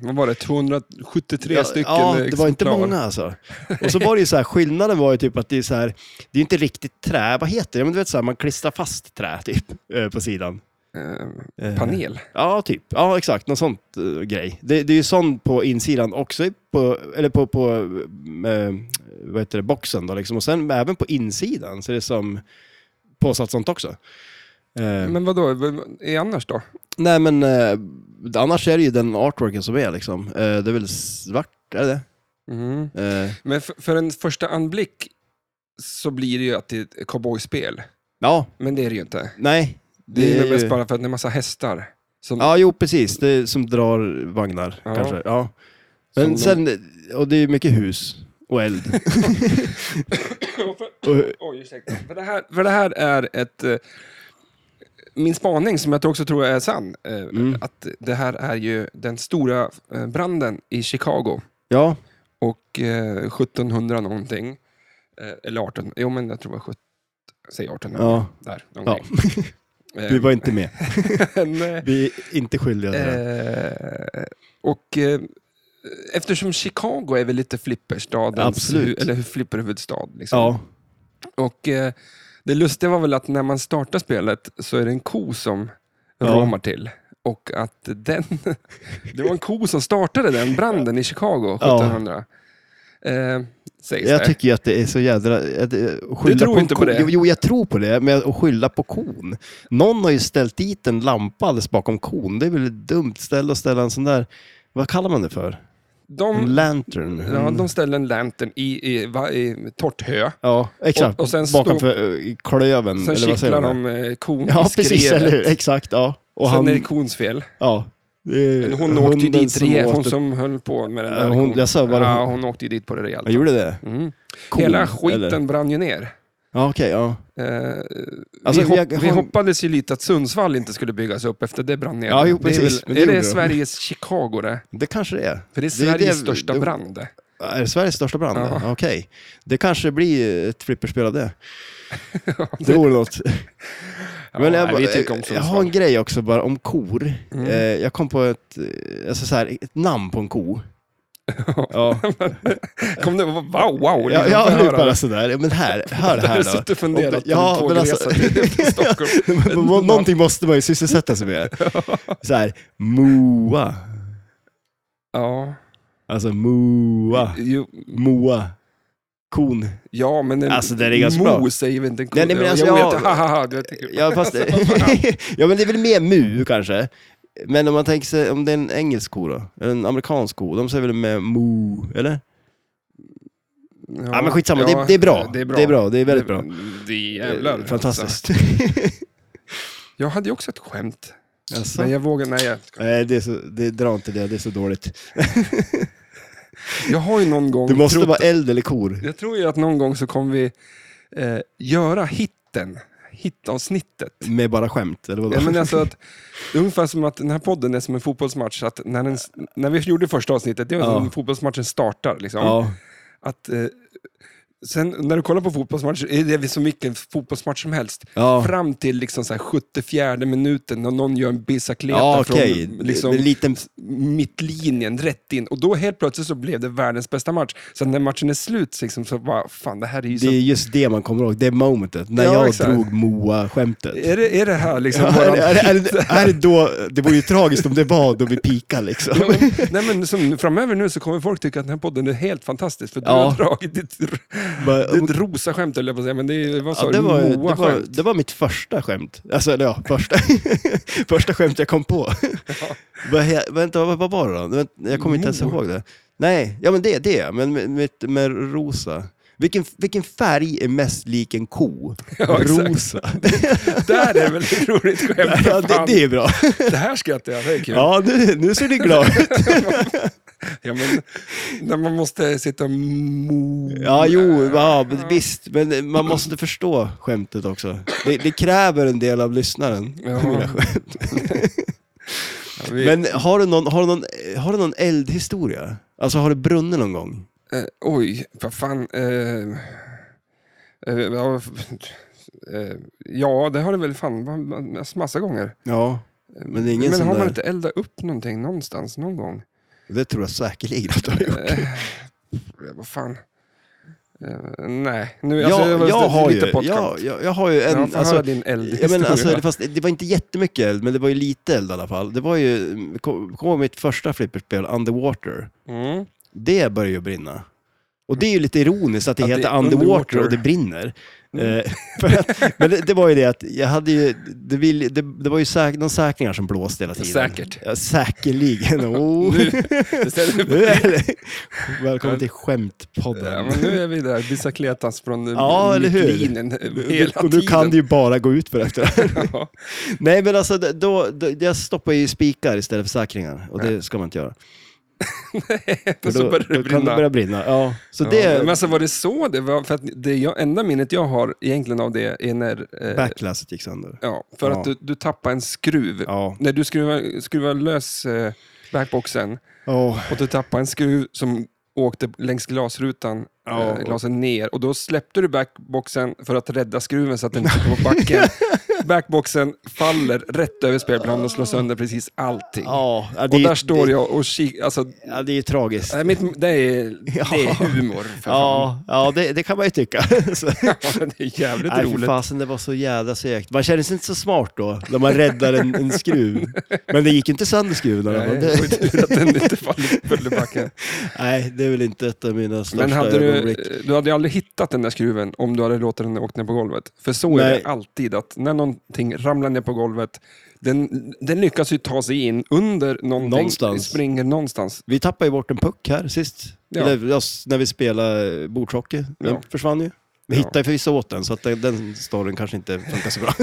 S2: vad var det, 273
S1: Ja,
S2: stycken liksom,
S1: Ja, det var inte
S2: exemplar.
S1: många alltså. Och så var det ju så här, skillnaden var ju typ att det är så här, det är inte riktigt trä, vad heter det? Men du vet så här, man klistrar fast trä typ eh, på sidan.
S2: Eh,
S1: Eh,
S2: panel.
S1: Ja, typ. Ja, exakt. Någon sånt eh, grej. Det, det är ju sånt på insidan också, i- på, eller på, på eh, vad heter det, boxen då liksom. Och sen även på insidan så är det som påsatt sånt också. Eh,
S2: Men vad då, är annars då?
S1: Nej men eh, annars är det ju den artworken som är liksom. Eh, det är väl svart, är det
S2: Mm.
S1: det? Eh,
S2: Men för, för en första anblick så blir det ju att det är ett cowboyspel.
S1: ja,
S2: Men det är det ju inte.
S1: nej.
S2: Det, är ju mest bara för att det är en massa hästar. Som,
S1: Ja, jo precis. Det är som drar vagnar
S2: Ja.
S1: kanske. Ja. Men
S2: Som
S1: sen, och det är mycket hus och eld. och,
S2: Oj, ursäkta. För det, här, för det här är ett... eh, Min spaning, som jag tror också tror är sann, eh,
S1: Mm.
S2: att det här är ju den stora eh, branden i Chicago.
S1: ja,
S2: Och eh, 1700 någonting. Eh, Eller 18... Jo, men jag tror det var 17... Säg 1800.
S1: ja.
S2: Där,
S1: ja.
S2: någonting. Eh,
S1: Vi var inte med.
S2: men, eh,
S1: Vi är inte skyldiga till det.
S2: Eh, och eh, eftersom Chicago är väl lite flipperstadens,
S1: Absolut.
S2: eller hur flipperhuvudstad. Liksom.
S1: Ja,
S2: Och eh, det lustiga var väl att när man startar spelet så är det en ko som
S1: Ja.
S2: ramar till. Och att den, det var en ko som startade den branden i Chicago 1700. Eh, sägs
S1: jag
S2: det.
S1: tycker ju att det är så jädra... att, eh, att skylla på
S2: tror
S1: en
S2: inte på
S1: ko-
S2: det.
S1: Jo, Jo, jag tror på det, men att skylla på kon. Någon har ju ställt dit en lampa alldeles bakom kon. Det är väl ett dumt ställe att ställa en sån där... Vad kallar man det för? En
S2: de,
S1: lantern?
S2: ja, de ställde en lantern i, i, va- i torrt hö.
S1: Ja, exakt.
S2: Och- och sen
S1: bakom för eh, klöven.
S2: Sen
S1: Mm, eller vad säger
S2: kittlar
S1: man?
S2: de eh, kon i
S1: Ja, precis.
S2: skrevet.
S1: Eller hur? Exakt, ja. Och
S2: Sen
S1: han,
S2: är det kons fel.
S1: ja. Det är
S2: Hon åkte ju
S1: Eh, hunden
S2: dit rejält, hon
S1: åt-
S2: som höll på med den där.
S1: Ja, hon- jag sa bara-
S2: ja, hon åkte ju dit på det rejält.
S1: Jag gjorde det?
S2: Mm.
S1: Kon,
S2: Hela skiten
S1: eller?
S2: brann ju ner.
S1: Ja, okej. ja.
S2: Eh,
S1: Alltså,
S2: vi, hopp,
S1: jag har-
S2: vi hoppades ju lite att Sundsvall inte skulle byggas upp efter det brann ner.
S1: Ja, jo,
S2: det är,
S1: precis, men det
S2: är
S1: gjorde
S2: det
S1: de.
S2: Sveriges Chicago det?
S1: Det kanske det är.
S2: För det är
S1: Det är
S2: Sveriges
S1: det-
S2: största
S1: det-
S2: brand. det.
S1: Är det Sveriges största brand?
S2: Ja.
S1: Okej. Det kanske blir ett flipperspel av det. det vore något.
S2: Ja,
S1: Men
S2: nej,
S1: jag,
S2: vi
S1: bara-
S2: tycker om
S1: jag har en
S2: Sundsvall.
S1: grej också bara om kor.
S2: Mm.
S1: Eh, jag kom på ett, eh, alltså så här, ett namn på en ko. ja,
S2: Kom det, wow, wow.
S1: ja,
S2: liksom,
S1: ja
S2: får
S1: nu
S2: höra.
S1: bara sådär. Men här, hör
S2: Där har
S1: här
S2: du
S1: då.
S2: suttit och funderat på
S1: Ja,
S2: en
S1: men
S2: tågresa
S1: alltså-
S2: till- till Stockholm.
S1: Men må- Någonting måste man ju sysselsätta sig med. Så här, Moa.
S2: Ja,
S1: Alltså Moa.
S2: jo,
S1: Moa. Kon.
S2: ja, men en
S1: Alltså, det är ganska
S2: mo
S1: bra.
S2: säger väl inte en ko?
S1: Nej, nej, men alltså,
S2: jag,
S1: jag-
S2: vet, haha, jag tycker,
S1: Ja, fast, ja, men det är väl mer mu kanske. Men om man tänker sig, om det är en engelsk ko då? Eller En amerikansk ko? De säger väl med mo, eller? Ja, men skitsamma, det, det, är bra. det är bra. Det är väldigt bra.
S2: Det är jävlar. Alltså.
S1: Fantastiskt.
S2: Jag hade ju också ett skämt.
S1: Jaså?
S2: Men jag vågar, nej. Jag,
S1: Nej, det är så, det, dra inte det, det är så dåligt.
S2: jag har ju någon gång
S1: Du måste
S2: trott,
S1: vara eld eller kor.
S2: Jag tror ju att någon gång så kommer vi eh, göra hitten, hitavsnittet.
S1: Med bara skämt, eller vadå?
S2: Ja, men alltså att, det är ungefär som att den här podden är som en fotbollsmatch. Att när, den, när vi gjorde första avsnittet, det var
S1: Ja.
S2: som fotbollsmatchen startar. Liksom.
S1: ja.
S2: Att, eh, sen när du kollar på fotbollsmatcher, är det är som vilken fotbollsmatch som helst.
S1: Ja.
S2: Fram till liksom så här 74 minuten när någon gör en bicicleta
S1: Ja, okej.
S2: från liksom,
S1: En liten...
S2: mittlinjen rätt in. Och då helt plötsligt så blev det världens bästa match. Så när matchen är slut liksom, så bara, fan det här är ju
S1: Det
S2: så...
S1: är just det man kommer ihåg, det momentet. När
S2: Ja,
S1: jag
S2: exakt.
S1: drog Moa-skämtet.
S2: Är det, är det här liksom
S1: Ja, är,
S2: våran
S1: det- är, det- är,
S2: hit?
S1: det- är det då, det vore ju tragiskt om det var då vi pikade liksom.
S2: Ja, men- Nej, men som, framöver nu så kommer folk tycka att den här podden är helt fantastisk, för du
S1: Ja.
S2: har dragit ditt,
S1: Bara,
S2: ditt rosa skämt eller jag på att säga, men det är, vad sa
S1: Ja,
S2: du?
S1: det, var, det,
S2: Moa
S1: var,
S2: skämt.
S1: det var mitt första skämt. Alltså, eller ja, första, första skämt jag kom på. Vad he- Vänta, vad, vad var det då? Vänt- Jag kommer inte ens
S2: Mo.
S1: ihåg det. Nej, ja men det är det, men med, med, med rosa. Vilken, vilken färg är mest lik en ko?
S2: Ja, exakt.
S1: rosa.
S2: Där är väl ett roligt skämt.
S1: ja, det,
S2: Fan, det,
S1: det är bra.
S2: här skrattar jag, det är kul. Ja.
S1: Ja, nu, nu ser du glad ut.
S2: men, när man måste sitta och mo...
S1: Ja, jo, ja, men visst. Men man måste förstå skämtet också. Det, det kräver en del av lyssnaren.
S2: Ja. Ja, vi,
S1: Men har du någon, har du någon, har du någon eldhistoria? Alltså har du brunnit någon gång?
S2: eh, oj, vad fan. Eh, eh, ja, eh, ja, det har det väl fan man- man- massa gånger.
S1: Ja, men det är ingen
S2: men
S1: sån
S2: har man
S1: där.
S2: inte eldat upp någonting någonstans någon gång?
S1: Det tror jag säkerligen att du har gjort.
S2: Eh, vad fan. Eh, nej, nu,
S1: Jag,
S2: alltså,
S1: jag,
S2: var
S1: har
S2: lite
S1: ju, jag,
S2: bortskämt.
S1: jag, jag har ju
S2: Ja,
S1: en...
S2: får
S1: alltså,
S2: höra din
S1: jag
S2: eldhistoria.
S1: men, alltså, det, fast, det var inte jättemycket eld, men det var ju lite eld i alla fall. Det var ju, kom kom ihåg mitt första flipperspel, Underwater.
S2: mm.
S1: Det börjar ju brinna. Och det är ju lite ironiskt att det
S2: Att det
S1: heter
S2: är
S1: underwater,
S2: underwater. Mm.
S1: och det brinner. Eh, för att, men det, det var ju det att jag hade ju, det, vill, det, det var ju säk, någon säkringar som blåste hela tiden.
S2: Säkert.
S1: Ja, säkerligen. Oh.
S2: Istället-
S1: Nu är det- Välkommen till Skämtpodden.
S2: ja, men nu är vi där, bicicletas från
S1: Ja, eller hur?
S2: mittlinjen hela
S1: och nu kan
S2: tiden.
S1: det ju bara gå ut för efter det här.
S2: Ja.
S1: Nej men alltså, det- då, då, jag stoppar ju spikar istället för säkringar och det ska man inte göra.
S2: Och så
S1: då,
S2: började
S1: då kan
S2: det
S1: det
S2: brinna.
S1: börja brinna. Ja. Så
S2: Ja,
S1: det
S2: Men alltså var det så det var? För att det jag, enda minnet jag har egentligen av det är när... eh,
S1: backlasset gick sönder.
S2: ja, för
S1: Ja.
S2: att du, du tappade en skruv.
S1: Ja.
S2: När du skruvade, skruvade lös eh, backboxen
S1: Åh.
S2: och du tappade en skruv som åkte längs glasrutan,
S1: Ja.
S2: eh, glasen ner. Och då släppte du backboxen för att rädda skruven så att den inte kom på backen. backboxen faller rätt över spelplanen och slår sönder precis allting.
S1: Ah. Ja, ja, det,
S2: och där står
S1: det,
S2: jag och kikar. Alltså,
S1: Ja, det är ju tragiskt.
S2: nej, mitt- det, är, det
S1: Ja.
S2: är humor. För fan.
S1: Ja, ja det, det kan man ju tycka. Så,
S2: Ja, det är jävligt
S1: nej, för
S2: roligt.
S1: fasen, det var så jävla segt. Man känner sig inte så smart då, när man räddar en, en skruv. Men det gick inte sönder skruven.
S2: Nej,
S1: Nej,
S2: det
S1: det,
S2: var tur att den inte faller föll i backen.
S1: nej, det är väl inte ett av mina största
S2: Men hade du, eh,
S1: ögonblick.
S2: du hade ju aldrig hittat den där skruven om du hade låtit den åka ner på golvet. För så är
S1: Nej.
S2: det alltid, att när någonting ramlar ner på golvet, den, den lyckas ju ta sig in under någonting,
S1: Någonstans.
S2: springer någonstans.
S1: Vi tappade ju bort en puck här sist.
S2: Ja.
S1: Eller, ja, s- när vi spelade bordshockey. Den
S2: Ja.
S1: försvann ju. Vi hittade förvisso åt den, så att den, den storyn kanske inte funkar så bra.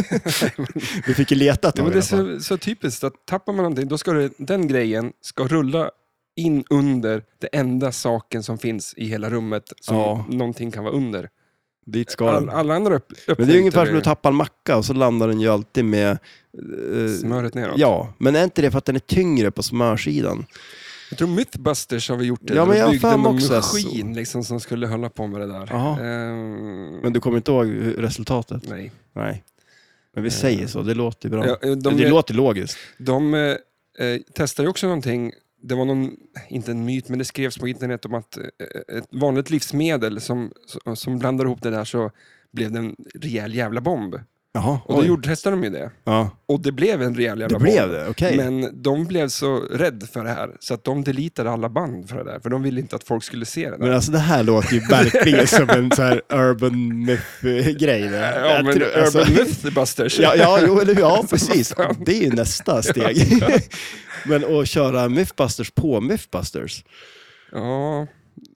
S1: vi fick ju leta ett
S2: Ja,
S1: tag
S2: men
S1: i
S2: det är
S1: alla fall.
S2: så, så typiskt att tappar man någonting, då ska det, den grejen ska rulla in under det enda saken som finns i hela rummet som
S1: Ja.
S2: någonting kan vara under.
S1: Dit ska
S2: All,
S1: den.
S2: alla andra upp,
S1: Men det är ungefär som när du tappar en macka och så landar den ju alltid med... eh,
S2: smöret neråt.
S1: ja, men är inte det för att den är tyngre på smörsidan?
S2: Jag tror Mythbusters har vi gjort det.
S1: Ja,
S2: De
S1: men jag har
S2: byggde
S1: för mig
S2: någon
S1: också
S2: maskin liksom, som skulle hålla på med det där.
S1: Jaha.
S2: Ehm,
S1: Men du kommer inte ihåg hur- resultatet?
S2: nej.
S1: Nej. Men vi säger så, det låter ju bra.
S2: Ja, eh, de
S1: det låter logiskt.
S2: de eh, eh, testade ju också någonting, det var någon, inte en myt, men det skrevs på internet om att eh, ett vanligt livsmedel som, som- som blandar ihop det där så blev det en rejäl jävla bomb.
S1: Jaha,
S2: Och då
S1: oj.
S2: gjorde, testade de ju det.
S1: ja.
S2: Och det blev en rejäl jävla
S1: Det blev
S2: bomb.
S1: det, okej.
S2: Men de blev så rädda för det här så att de deletade alla band för det där. För de ville inte att folk skulle se det där.
S1: Men alltså det här låter ju verkligen som en så här urban myth-grej. det.
S2: ja,
S1: Jag
S2: men
S1: tror- alltså-
S2: Urban Mythbusters.
S1: Ja, ja, jo, eller, ja precis. Det är ju nästa steg. Men att köra Mythbusters på Mythbusters.
S2: Ja,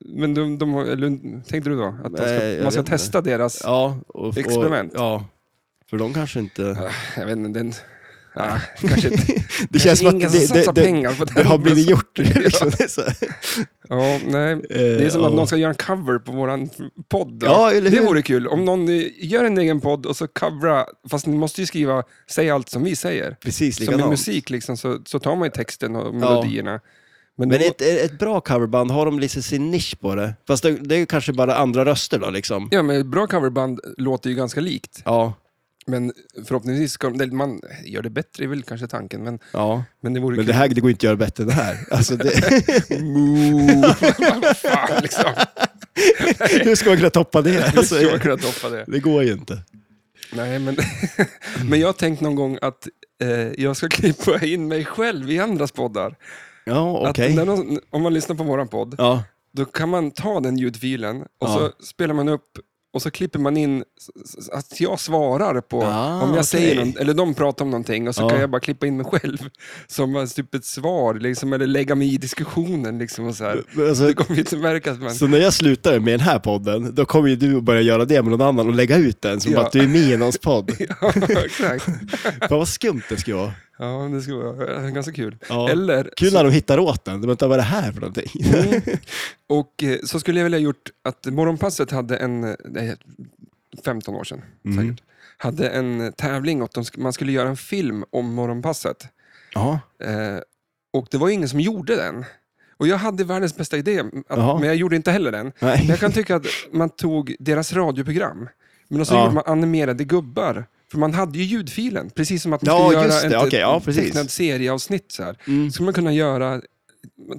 S2: Men de, de, har- eller, tänkte du då? Att de
S1: Nej,
S2: ska,
S1: jag
S2: man ska
S1: vet inte.
S2: testa deras...
S1: Ja, och, och,
S2: Experiment.
S1: Ja, för de kanske inte...
S2: Ah, Jag vet inte, den... Ah, kanske inte.
S1: Det känns som att
S2: ingen
S1: det,
S2: som satsar
S1: det, det,
S2: pengar på den.
S1: det har blivit gjort. Eh, Liksom. Det är så här.
S2: Ja, nej. Det är som att någon ska göra en cover på våran podd. då.
S1: Ja, eller
S2: det
S1: hur?
S2: vore kul. Om någon eh, gör en egen podd och så covra, fast ni måste ju skriva, säg allt som vi säger.
S1: Precis
S2: Som i
S1: likadant.
S2: musik liksom, så, så tar man ju texten och melodierna. Men,
S1: Men
S2: då-
S1: ett, ett bra coverband, har de liksom sin nisch på det? Fast det, det är ju kanske bara andra röster då liksom.
S2: Ja, men ett bra coverband låter ju ganska likt,
S1: Ja,
S2: men förhoppningsvis ska de- man gör det bättre är väl kanske tanken, men,
S1: ja.
S2: men det vore
S1: Men
S2: kul.
S1: det här det går inte att göra bättre än det här. Alltså det,
S2: Vad fan, liksom.
S1: hur ska man kunna toppa det?
S2: Hur
S1: Alltså,
S2: ska man kunna toppa det?
S1: det går ju inte.
S2: Nej, men,
S1: Mm.
S2: men jag har tänkt någon gång att eh, jag ska klippa in mig själv i andras poddar.
S1: Ja, okej.
S2: Att när någon, om man lyssnar på våran podd,
S1: Ja,
S2: då kan man ta den ljudfilen och
S1: Ja.
S2: så spelar man upp och så klipper man in s- s- att jag svarar på
S1: Ah,
S2: om jag
S1: okej.
S2: säger någon, eller de pratar om någonting och så
S1: Ja.
S2: kan jag bara klippa in mig själv som en- typ ett svar liksom, eller lägga mig i diskussionen. Liksom, och så här.
S1: men alltså,
S2: Det kommer ju inte märkas. Men...
S1: så när jag slutar med den här podden, då kommer ju du att börja göra det med någon annan och lägga ut den som
S2: Ja.
S1: att du är med i någons podd.
S2: Ja, exakt.
S1: Fan vad skumt det skulle vara.
S2: Ja, men det skulle vara eh, ganska kul.
S1: Ja.
S2: Eller
S1: Kul när de hittar åt den. De väntar, vad är det här för någonting?
S2: Mm. Och eh, så skulle jag vilja gjort att Morgonpasset hade en, eh, det är 15 år sedan säkert, hade en eh, tävling och de, sk- man skulle göra en film om Morgonpasset.
S1: Ja,
S2: Eh, och det var ju ingen som gjorde den. Och jag hade världens bästa idé, att,
S1: Jaha.
S2: men jag gjorde inte heller den. Men
S1: nej.
S2: jag kan tycka att man tog deras radioprogram, men så
S1: Ja.
S2: gjorde man animerade gubbar. För man hade ju ljudfilen, precis som att man
S1: Ja,
S2: skulle
S1: just det.
S2: göra ett,
S1: Okej, ja,
S2: ett
S1: precis.
S2: tecknat serieavsnitt. Så här
S1: Mm.
S2: skulle man kunna göra,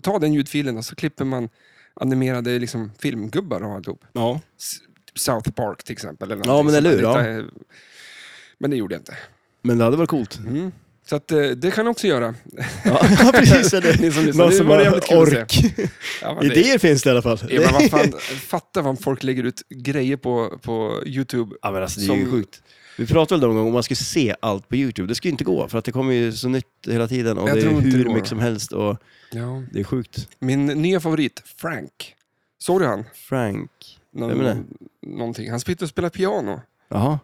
S2: ta den ljudfilen och så klipper man animerade liksom, filmgubbar och alltihop.
S1: Ja.
S2: S- South Park till exempel. Eller
S1: Ja,
S2: någonting
S1: men eller
S2: som man
S1: hur,
S2: hittar- eh, Men det gjorde jag inte.
S1: Men det hade varit coolt.
S2: Mm. Så att, eh, det kan jag också göra.
S1: Ja, precis. Eller,
S2: Ni som lyssnar,
S1: någon
S2: det
S1: som
S2: var
S1: har
S2: jävligt kul att se.
S1: ork.
S2: Ja, men det-
S1: Idéer finns det i alla fall.
S2: Ja, men vad fan, fatta vad folk lägger ut grejer på, på YouTube.
S1: Ja, men alltså, det är
S2: Som-
S1: ju sjukt. Vi pratade väl om om man skulle se allt på YouTube. Det skulle inte gå, för att det kommer ju så nytt hela tiden och
S2: Jag
S1: det
S2: tror
S1: är
S2: inte det
S1: hur
S2: går.
S1: mycket som helst och
S2: Ja.
S1: det är sjukt.
S2: Min nya favorit, Frank. Såg du han?
S1: Frank.
S2: Någon,
S1: Vem är det?
S2: Någonting. Han sitter och spelar piano
S1: Jaha.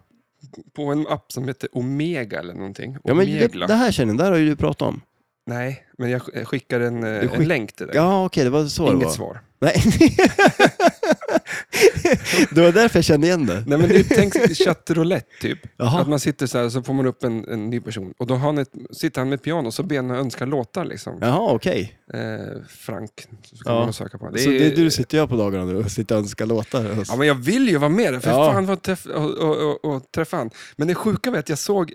S2: på en app som heter Omega eller någonting.
S1: Ja, men det,
S2: Omegla.
S1: det här känner jag, där har ju du pratat om.
S2: Nej, men jag sk- jag skickar en, eh,
S1: Du skick-
S2: en länk till dig.
S1: Ja, okej, det var så
S2: Inget
S1: det var.
S2: svar.
S1: Nej. det var därför jag kände igen det.
S2: Nej, men det är, tänk chattroulette typ.
S1: Jaha.
S2: Att man sitter så här och så får man upp en, en ny person. Och då har han ett, sitter han med ett piano och så ber han önska låtar. Liksom.
S1: Jaha, okej.
S2: Eh, Frank, så kan
S1: Ja.
S2: man söka på. Det
S1: Så
S2: är-
S1: det är du sitter jag på dagarna nu och sitter och önskar låtar? Alltså. Och...
S2: Ja, men jag vill ju vara med där, för
S1: Ja.
S2: fan vad träff, och, och, och, och träffa han. Men det sjuka var att jag såg,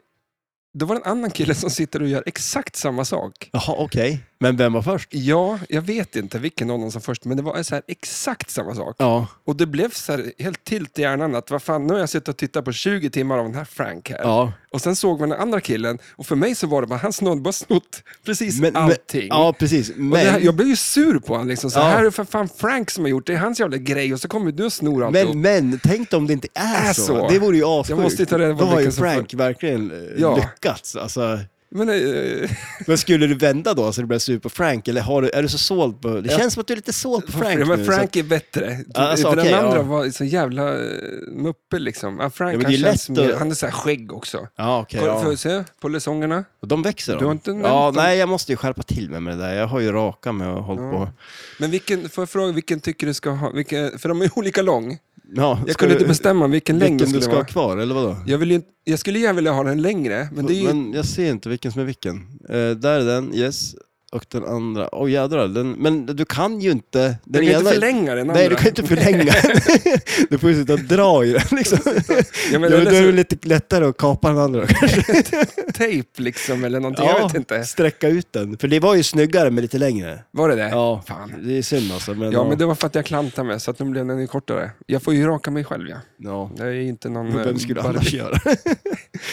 S2: det var en annan kille som sitter och gör exakt samma sak.
S1: Jaha, okej. Men vem var först?
S2: Ja, jag vet inte vilken av dem som först, men det var så här exakt samma sak.
S1: Ja.
S2: Och det blev så här helt tilt i hjärnan att vad fan, nu har jag suttit och tittat på 20 timmar av den här Frank här.
S1: ja.
S2: Och sen såg man den andra killen och för mig så var det bara, han snod, bara snott precis
S1: Men- men-
S2: allting.
S1: Ja, precis. Men,
S2: och det här, jag blev ju sur på honom. Liksom, så
S1: Ja.
S2: här är för fan Frank som har gjort det, det är hans jävla grej och så kommer du och snor alltihop.
S1: men, men tänk om det inte är
S2: Är
S1: så.
S2: så.
S1: Det vore ju
S2: Jag måste
S1: assjukt.
S2: ta reda på
S1: Då har ju
S2: vilken som
S1: Frank verkligen eh,
S2: Ja.
S1: lyckats. Alltså,
S2: Men, eh,
S1: Men skulle du vända då så det blev slut på Frank? Eller har du, är du så såld på... Det
S2: Ja.
S1: känns som att du är lite såld på Frank
S2: ja, men
S1: nu. så att,
S2: Frank är bättre.
S1: Alltså,
S2: För
S1: okej,
S2: den andra
S1: ja.
S2: var så jävla eh, muppe liksom. Ja, Frank
S1: Ja, men det
S2: han
S1: är ju
S2: känns
S1: lätt
S2: mer,
S1: att-
S2: han är så här skägg också.
S1: ja, okej.
S2: Kolla, Får
S1: ja.
S2: jag se på lösongerna?
S1: Och De växer då?
S2: Du har inte nämnt
S1: ja,
S2: dem.
S1: Nej, jag måste ju skärpa till mig med det där. Jag har ju raka mig och hållit
S2: Ja.
S1: på.
S2: Men vilken, får jag fråga vilken tycker du ska ha? Vilken, för de är olika lång.
S1: Ja,
S2: Jag
S1: ska
S2: kunde
S1: du-
S2: inte bestämma vilken längd det
S1: Vilken du
S2: skulle
S1: ska ha
S2: vara.
S1: kvar, eller vadå?
S2: Jag, vill ju, inte- jag skulle gärna vilja ha den längre, men det är ju...
S1: Men jag ser inte vilken som är vilken. Eh, där är den, yes. Och den andra, åh jädrar. Den, men du kan ju inte...
S2: du
S1: Den
S2: kan inte
S1: ena-
S2: förlänga den andra.
S1: Nej, du kan inte förlänga den. du får ju sitta och dra i den liksom.
S2: Ja,
S1: Ja,
S2: men
S1: men
S2: eller
S1: då är det
S2: så,
S1: väl lite lättare att kapa den andra
S2: tejp liksom, eller någonting. Jag vet inte.
S1: sträcka ut den. För det var ju snyggare men lite längre.
S2: Var det det?
S1: Ja,
S2: Fan.
S1: det är synd alltså. Men,
S2: Ja, men det var för att jag klantade mig, så att nu blev den ju kortare. Jag får ju raka mig själv, ja.
S1: ja.
S2: Jag är inte någon... eh,
S1: Vem skulle
S2: barbe-
S1: annars göra?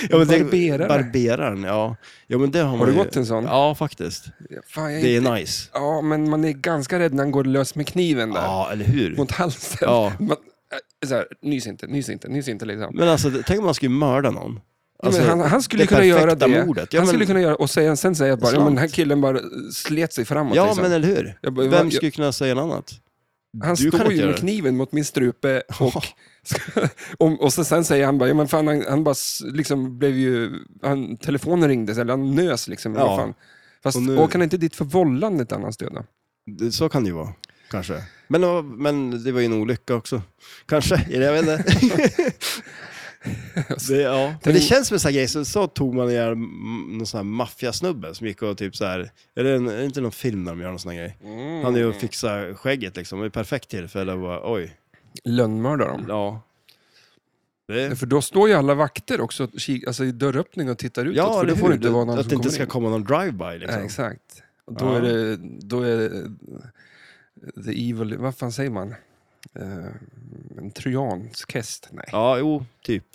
S1: ja, men det-
S2: Barberare.
S1: Barberaren, ja. ja men det har,
S2: Har
S1: man
S2: du
S1: ju-
S2: gått till en sån?
S1: Ja, faktiskt.
S2: Fan, jag är
S1: Det
S2: inte-
S1: är nice.
S2: Ja, men man är ganska rädd när han går lös med kniven där.
S1: Ja, eller hur?
S2: Mot halsen.
S1: Ja.
S2: Man, äh, så här, nys inte, nys inte, nys inte liksom.
S1: Men alltså, det- tänk om man skulle mörda någon. Alltså,
S2: ja, men han, han skulle
S1: det
S2: kunna göra
S1: perfekta
S2: det.
S1: mordet. Ja,
S2: han
S1: men-
S2: skulle kunna göra och säga, sen säga bara, ja,
S1: Slant.
S2: men den här killen bara slet sig framåt.
S1: ja,
S2: liksom.
S1: men eller hur?
S2: Jag bara,
S1: Vem
S2: va-
S1: skulle kunna säga något annat?
S2: han
S1: du kan
S2: står
S1: inte
S2: ju
S1: göra
S2: med
S1: det.
S2: kniven mot min strupe och, och, och så, sen säger han bara, ja, men fan, han, han bara s- liksom blev ju, han, telefonen ringdes eller han nös liksom.
S1: Ja.
S2: Ja. Fan. Fast
S1: Och nu-
S2: åker han inte dit för vållande till annans död då?
S1: Det- Så kan det ju vara, kanske. Men, det var- men det var ju en olycka också. Kanske, jag vet inte. det, ja. Men det känns som en sån här grej, så, så tog man ihjäl m- någon sån här maffiasnubbe som gick och typ så här. Är det, en, är det inte någon film där de gör någon sån här grej? Han är ju och
S2: Mm.
S1: fixar skägget liksom, det är ett perfekt tillfälle att bara, oj.
S2: Lönnmördar dem.
S1: Ja. Det,
S2: För då står ju alla vakter också och ki- alltså, i dörröppningen och tittar utåt.
S1: ja,
S2: för
S1: eller
S2: då får
S1: hur?
S2: det inte vara någon
S1: Att
S2: som
S1: det inte
S2: kommer
S1: ska
S2: in.
S1: komma någon drive-by liksom.
S2: Nej, exakt. Och då,
S1: Ja.
S2: är det, då är det the evil, vad fan säger man? Eh, en trojansk häst? Nej.
S1: Ja, jo, typ.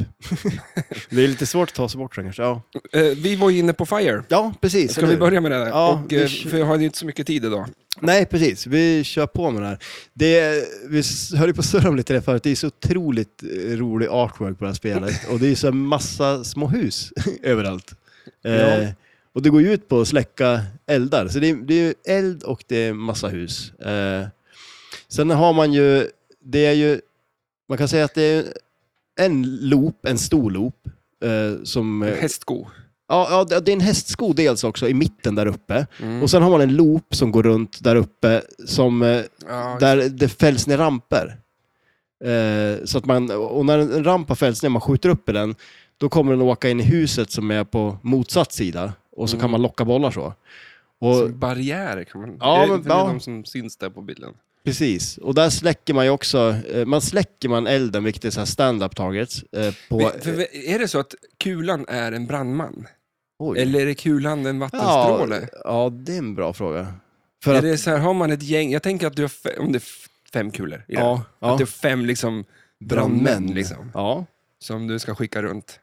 S1: det är lite svårt att ta sig bort sen kanske. Ja,
S2: Eh, vi var ju inne på FIRE.
S1: ja precis.
S2: Ska
S1: eller
S2: vi
S1: hur?
S2: börja med det? Där?
S1: Ja,
S2: och, eh,
S1: vi-
S2: för jag har ju inte så mycket tid idag.
S1: Nej, precis. Vi kör på med det här. Det, vi s- höll ju på att surra om lite det förut. Det är så otroligt eh, rolig artwork på det här spelet. Och det är ju så en massa små hus överallt. Eh, och det går ju ut på att släcka eldar. Så det är, det är ju eld och det är massa hus. Eh, sen har man ju, det är ju, man kan säga att det är en loop, en stor loop. Eh, som,
S2: En
S1: eh,
S2: hästsko.
S1: ja, ja, det- det är en hästsko dels också i mitten där uppe. Och sen har man en loop som går runt där uppe, som, eh,
S2: Mm. ja,
S1: där det fälls ner ramper. Eh, så att man, och när en ramp har fällts ner, man skjuter upp i den, då kommer den åka in i huset som är på motsatt sida. Och så
S2: Mm.
S1: kan man locka bollar så. Och,
S2: som barriärer kan man...
S1: Ja,
S2: är det
S1: men-
S2: inte det
S1: ja.
S2: de som syns där på bilden?
S1: Precis, och där släcker man ju också, eh, man släcker man elden, vilket är så här stand-up targets. Eh, på,
S2: Vi- för, vi- är det så att kulan är en brandman?
S1: Oj.
S2: Eller är det kulan
S1: ja,
S2: en vattenstråle?
S1: ja, det är en bra fråga. För
S2: är
S1: att,
S2: det så här, har man ett gäng, jag tänker att du har fe- om det är f- fem kulor i det.
S1: ja, ja,
S2: Att det är fem liksom brandmän
S1: brandmän.
S2: liksom,
S1: Ja,
S2: som du ska skicka runt.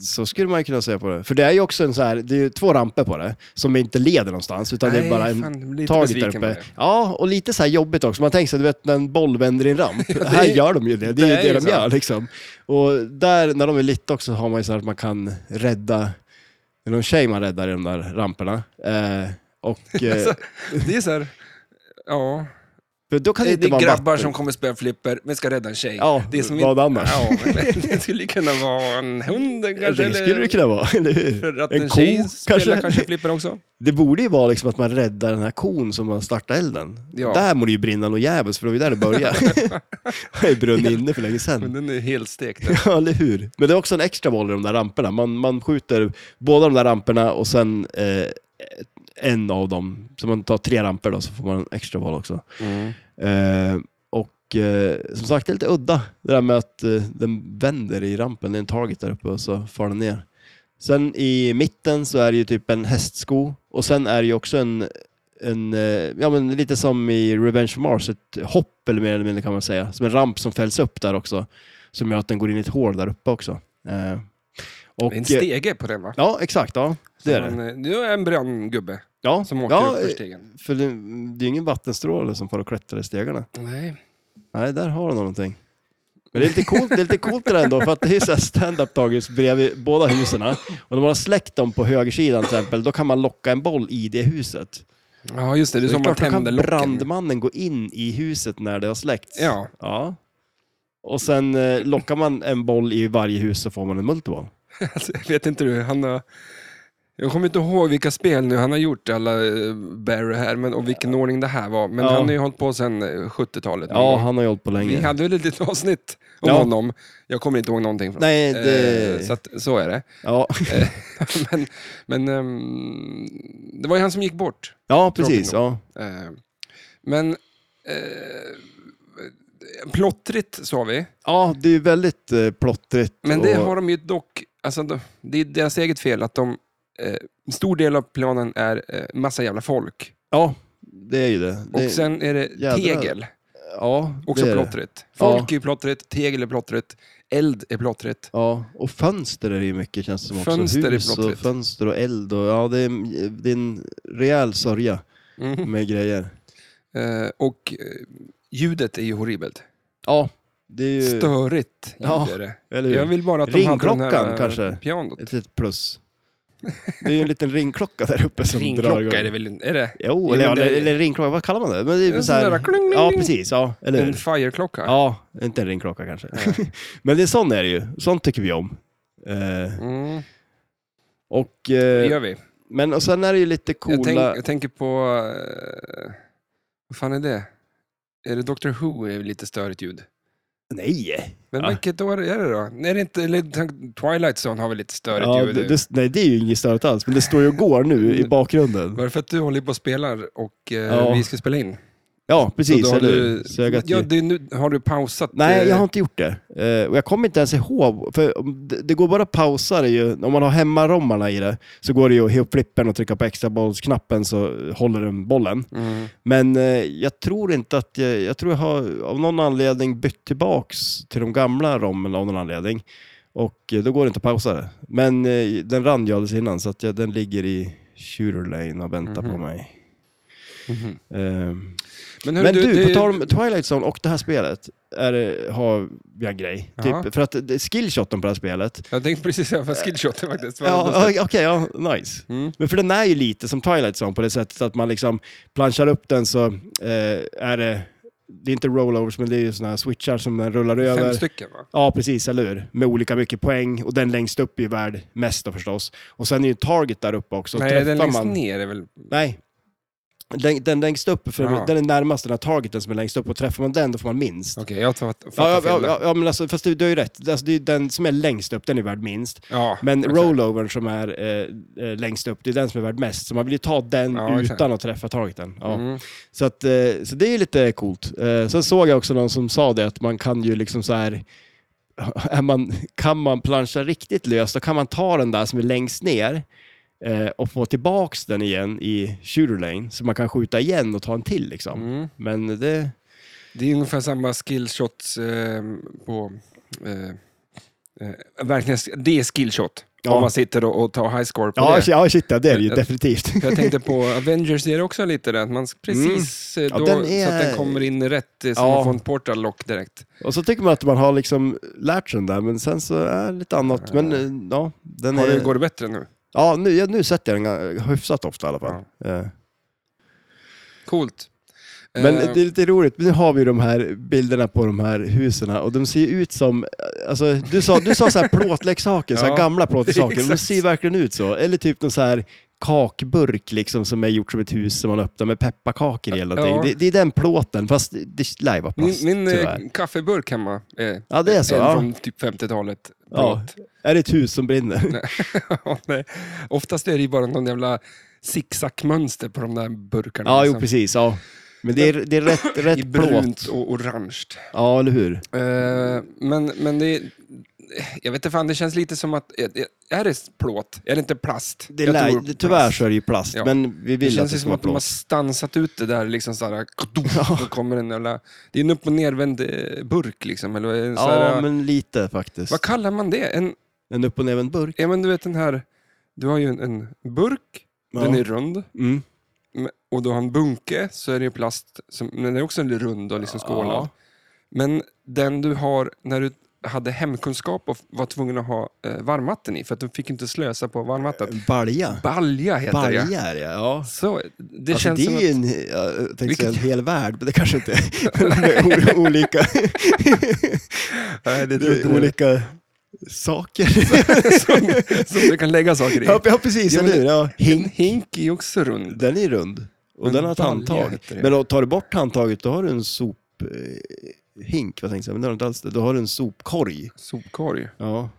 S1: Så skulle man ju kunna säga på det. För det är ju också en så här, det är ju två ramper på det, som inte leder någonstans, utan det är bara en
S2: fan, lite
S1: taget där
S2: besviken
S1: uppe.
S2: på det.
S1: Ja, och lite så här jobbigt också. Man tänker sig, du vet när en boll vänder i en ramp.
S2: det är-
S1: här gör de ju det. Det är ju
S2: det är
S1: det,
S2: ju
S1: de
S2: så.
S1: gör liksom. Och där, när de är lite också, har man ju så här att man kan rädda, det är någon tjej man räddar i de där ramperna. Eh, och, eh,
S2: Alltså, Det är så här, ja.
S1: för då kan det
S2: Det,
S1: inte
S2: det
S1: vara
S2: är grabbar
S1: vatten.
S2: som kommer spela flipper, men ska rädda en tjej.
S1: Ja,
S2: det är som
S1: vad
S2: inte-
S1: annars?
S2: Ja, men det skulle ju kunna vara en hund
S1: Ja,
S2: kanske.
S1: det skulle det kunna vara, eller
S2: För att
S1: hur?
S2: en,
S1: En ko
S2: tjej spelar
S1: kanske?
S2: kanske flipper också.
S1: Det borde ju vara liksom att man räddar den här kon som man startar elden.
S2: Ja.
S1: Där må det ju brinna något jävligt för det var ju där det började. det är brunnit inne för länge
S2: Men
S1: sedan.
S2: den är helt stekt.
S1: Ja, eller hur? Men det är också en extra boll i de där ramperna. Man, man skjuter båda de där ramperna och sen eh, en av dem. Så man tar tre ramper då, så får man en extra boll också. Eh, och eh, som sagt, det är lite udda det där med att eh, den vänder i rampen, det är en target där uppe och så far den ner. Sen i mitten så är det ju typ en hästsko och sen är det ju också en, en eh, ja men lite som i Revenge of Mars, ett hopp eller mer eller mindre kan man säga, som en ramp som fälls upp där också, som gör att den går in i ett hål där uppe också. Eh, och,
S2: Det är en
S1: eh,
S2: stege på den va?
S1: Ja, exakt. Ja, det är det.
S2: En, det är en brandgubbe
S1: Ja,
S2: som åker
S1: ja,
S2: upp för stegen.
S1: för det, eh, det är ju ingen vattenstråle som får att klättra i stegarna.
S2: Nej.
S1: Nej, där har du någonting. Men det är lite coolt, det är lite coolt det där ändå, för att det är så här stand-up dagis bredvid båda husen. Och när man har släckt dem på högersidan till exempel, då kan man locka en boll i det huset.
S2: Ja, just det. Det är
S1: Det är
S2: som man
S1: klart, då kan
S2: tänder locken.
S1: brandmannen gå in i huset när det har släckts.
S2: Ja.
S1: ja. Och sen eh, lockar man en boll i varje hus så får man en multiboll.
S2: Alltså, jag vet inte du, han har... Jag kommer inte ihåg vilka spel nu han har gjort, alla eh, Barry här, men, och vilken ordning det här var. Men
S1: Ja.
S2: han har ju hållit på sedan eh, 70-talet. någon
S1: Ja,
S2: gång.
S1: han har ju hållit på
S2: Vi
S1: länge.
S2: hade väl ett litet avsnitt om
S1: Ja.
S2: honom. Jag kommer inte ihåg någonting från
S1: Nej, det...
S2: Eh, Så, att, så är det.
S1: ja.
S2: men men ehm, det var ju han som gick bort.
S1: ja, precis. Ja.
S2: Eh, men eh, plottrigt sa vi,
S1: ja, det är ju väldigt eh, plottrigt.
S2: men det
S1: och...
S2: har de ju dock... Alltså, de- det är deras eget fel att de... Eh, en stor del av planen är eh, massa jävla folk.
S1: Ja, det är ju det.
S2: Och
S1: det...
S2: sen är det
S1: jädrar.
S2: tegel,
S1: ja,
S2: också
S1: det är det.
S2: plottrigt. Folk är ju plottrigt, tegel är plottrigt, eld är plottrigt.
S1: Ja, och fönster är det ju mycket känns det som också.
S2: Fönster är
S1: Hus och
S2: plottrigt.
S1: fönster och eld och ja, det är, det är en rejäl sörja
S2: Mhm.
S1: med grejer.
S2: Eh, och eh, ljudet är ju horribelt.
S1: Ja, det är ju...
S2: Störigt ljud
S1: Ja,
S2: är det.
S1: eller hur?
S2: Jag vill bara att de hade den här
S1: Ringklockan,
S2: eh,
S1: kanske?
S2: pianot.
S1: Ett litet plus. Det är ju en liten ringklocka där uppe som drar igång.
S2: Ringklocka är det väl inte? Är det?
S1: Jo,
S2: Jo,
S1: eller,
S2: men det-
S1: eller, eller ringklocka, vad kallar man det? Men det är
S2: En
S1: väl så här...
S2: sån där kling, kling,
S1: Ja,
S2: kling.
S1: precis. Ja, eller
S2: En
S1: hur?
S2: fireklocka?
S1: Ja, inte en ringklocka kanske. Men det är sån är det ju. Sånt tycker vi om. Eh,
S2: Mm,
S1: och,
S2: det
S1: eh,
S2: gör vi.
S1: men och sen är det ju lite
S2: Jag, tänk,
S1: coola...
S2: jag tänker på... eh, vad fan är det? Är det Doctor Who är lite störigt ljud?
S1: Nej!
S2: Men
S1: Ja.
S2: vilket år är det då? Är det inte, eller, tänk- Twilight Zone har väl lite störigt
S1: Ja,
S2: ljud?
S1: det, det, nej, det är ju inget störigt alls, men det står ju och går nu
S2: Mm.
S1: i bakgrunden.
S2: Bara för att du håller på och spelar och eh,
S1: Ja.
S2: vi ska spela in.
S1: Ja, precis.
S2: Så då har
S1: Eller,
S2: du,
S1: så jag
S2: ja,
S1: ja,
S2: det, är nu, har du pausat?
S1: Nej,
S2: eh,
S1: jag har inte gjort det. Eh, och jag kommer inte ens ihåg, för om det, det går bara att pausa det ju. Om man har hemmarommarna i det så går det ju att hea upp flippen och trycka på extra bollsknappen så håller den bollen.
S2: Mm.
S1: Men eh, jag tror inte att jag, jag tror jag har av någon anledning bytt tillbaks till de gamla rommen av någon anledning. Och eh, då går det inte att pausa det. Men eh, den rann ju alldeles innan så att jag, den ligger i shooter lane och väntar på
S2: Mhm.
S1: mig.
S2: Mhm.
S1: Ehm,
S2: Men, hörru,
S1: men du,
S2: det-
S1: på tal om Twilight Zone och det här spelet är, det- har vi en grej.
S2: Ja.
S1: Typ, för att det- skillshoten på det här spelet,
S2: Jag tänkte precis säga vad skillshoten faktiskt. Vad
S1: ja,
S2: lustigt.
S1: okej, ja, nice.
S2: Mm.
S1: Men för den är ju lite som Twilight Zone på det sättet att man liksom planchar upp den så eh, är det, det är inte rollovers men det är ju sådana här switchar som den rullar
S2: Fem
S1: över.
S2: stycken va?
S1: Ja, precis, eller hur? Med olika mycket poäng och den längst upp är ju värd mest då förstås. Och sen är ju target där uppe också.
S2: Nej,
S1: Träffar
S2: den längst
S1: man...
S2: ner är väl...
S1: Nej. Den, den längst upp, för
S2: Ja.
S1: den är närmast den här targeten som är längst upp och träffar man den då får man minst.
S2: Okej, jag har fatt- fattat
S1: Ja, ja,
S2: fel.
S1: ja,
S2: Ja,
S1: ja, men alltså, fast du, du har ju rätt. Alltså, det är ju den som är längst upp, den är värd minst. Men
S2: exakt.
S1: rollovern som är eh, eh, längst upp, det är den som är värd mest. Så man vill ju ta den
S2: Ja,
S1: utan
S2: exakt.
S1: att träffa targeten. Ja.
S2: Mm.
S1: Så, att, eh, så det är ju lite coolt. Eh, sen såg jag också någon som sa det, att man kan ju liksom så här... Är man, kan man plancha riktigt löst, då kan man ta den där som är längst ner eh, och få tillbaks den igen i shooter lane. Så man kan skjuta igen och ta en till liksom.
S2: Mm.
S1: Men det...
S2: Det är ungefär samma skillshots eh, på... Eh, eh, verkligen, det är skillshot.
S1: Ja.
S2: Om man sitter och, och tar highscore på
S1: Ja,
S2: det.
S1: ja, shit, ja, det är det ju
S2: Jag-
S1: definitivt.
S2: För Jag tänkte på Avengers, är det också lite det? Att man precis eh,
S1: Mm. Ja,
S2: då,
S1: den är-
S2: så att den kommer in rätt, eh, som
S1: Ja.
S2: att få en portal lock direkt.
S1: Och så tycker man att man har liksom lärt sig den där, men sen så är det lite annat. Men eh, ja, den
S2: Har
S1: är...
S2: det, går det bättre nu?
S1: ja nu, ja, nu sätter jag den ga- hyfsat ofta i alla fall. Eh,
S2: Coolt.
S1: Men
S2: Eh,
S1: det är lite roligt, nu har vi ju de här bilderna på de här husen och de ser ju ut som, eh, alltså du sa, du sa så här plåtleksaker, så här
S2: Ja,
S1: gamla plåtleksaker, de
S2: exakt.
S1: ser ju verkligen ut så. Eller typ någon så här kakburk liksom som är gjort som ett hus som man öppnar med pepparkakor i eller någonting.
S2: Ja.
S1: Det, det är den plåten, fast det- det lär ju vara
S2: Min,
S1: plast
S2: min eh,
S1: tyvärr.
S2: kaffeburk hemma är,
S1: Ja, det är så,
S2: en
S1: ja.
S2: från typ 50-talet.
S1: Ja.
S2: Plåt.
S1: Är det ett hus som brinner?
S2: Ja, nej. Oftast är det ju bara någon jävla zigzagmönster på de där burkarna.
S1: Ja, jo
S2: liksom.
S1: precis. Ja. Men det är, det är rätt,
S2: I
S1: rätt
S2: brunt
S1: plåt.
S2: och orange.
S1: Ja, eller hur?
S2: Eh, men, men det är- jag vet inte fan, det känns lite som att, är det- är det plåt? Är det inte plast?
S1: Det
S2: Jag
S1: lär,
S2: tror
S1: det, tyvärr
S2: plast.
S1: så är det ju plast,
S2: Ja.
S1: men vi
S2: Det
S1: vill att
S2: känns
S1: det
S2: ju
S1: ska
S2: som
S1: vara
S2: att de har
S1: plåt.
S2: stansat ut det där, liksom såhär, då kommer en jävla, det är en upp och nervänd eh, burk liksom, eller en så här,
S1: Ja, men lite faktiskt.
S2: vad kallar man det? En,
S1: En upp och nervänd burk.
S2: ja men du vet den här, du har ju en, en burk,
S1: Ja.
S2: den är rund,
S1: Mm.
S2: Men- och du har en bunke så är det ju plast, som, men den är också en rund och liksom skålad.
S1: Ja.
S2: Men den du har när du hade hemkunskap och var tvungen att ha eh, varmvatten i, för att du fick inte slösa på varmvattnet.
S1: Balja.
S2: Balja heter det.
S1: Balja är det, ja.
S2: Så, det
S1: Alltså,
S2: känns
S1: det
S2: som
S1: är
S2: att...
S1: ju en, jag tänkte
S2: Vilket-
S1: säga en hel värld, men det kanske inte är. Med o- olika,
S2: Nej, det
S1: det
S2: tror inte
S1: är
S2: du.
S1: olika saker.
S2: som, som du kan lägga saker i.
S1: ja, ja, precis.
S2: Ja,
S1: Ja,
S2: men-
S1: eller hur? ja.
S2: Hink. En hink är ju också rund.
S1: Den är rund och
S2: Men
S1: den har ett
S2: balja
S1: handtag.
S2: heter det.
S1: Men då tar du bort handtaget, då har du en sophink, hink, vad tänkte jag säga, men det har du inte alls. det. Då har du en sopkorg.
S2: Sopkorg.
S1: Ja.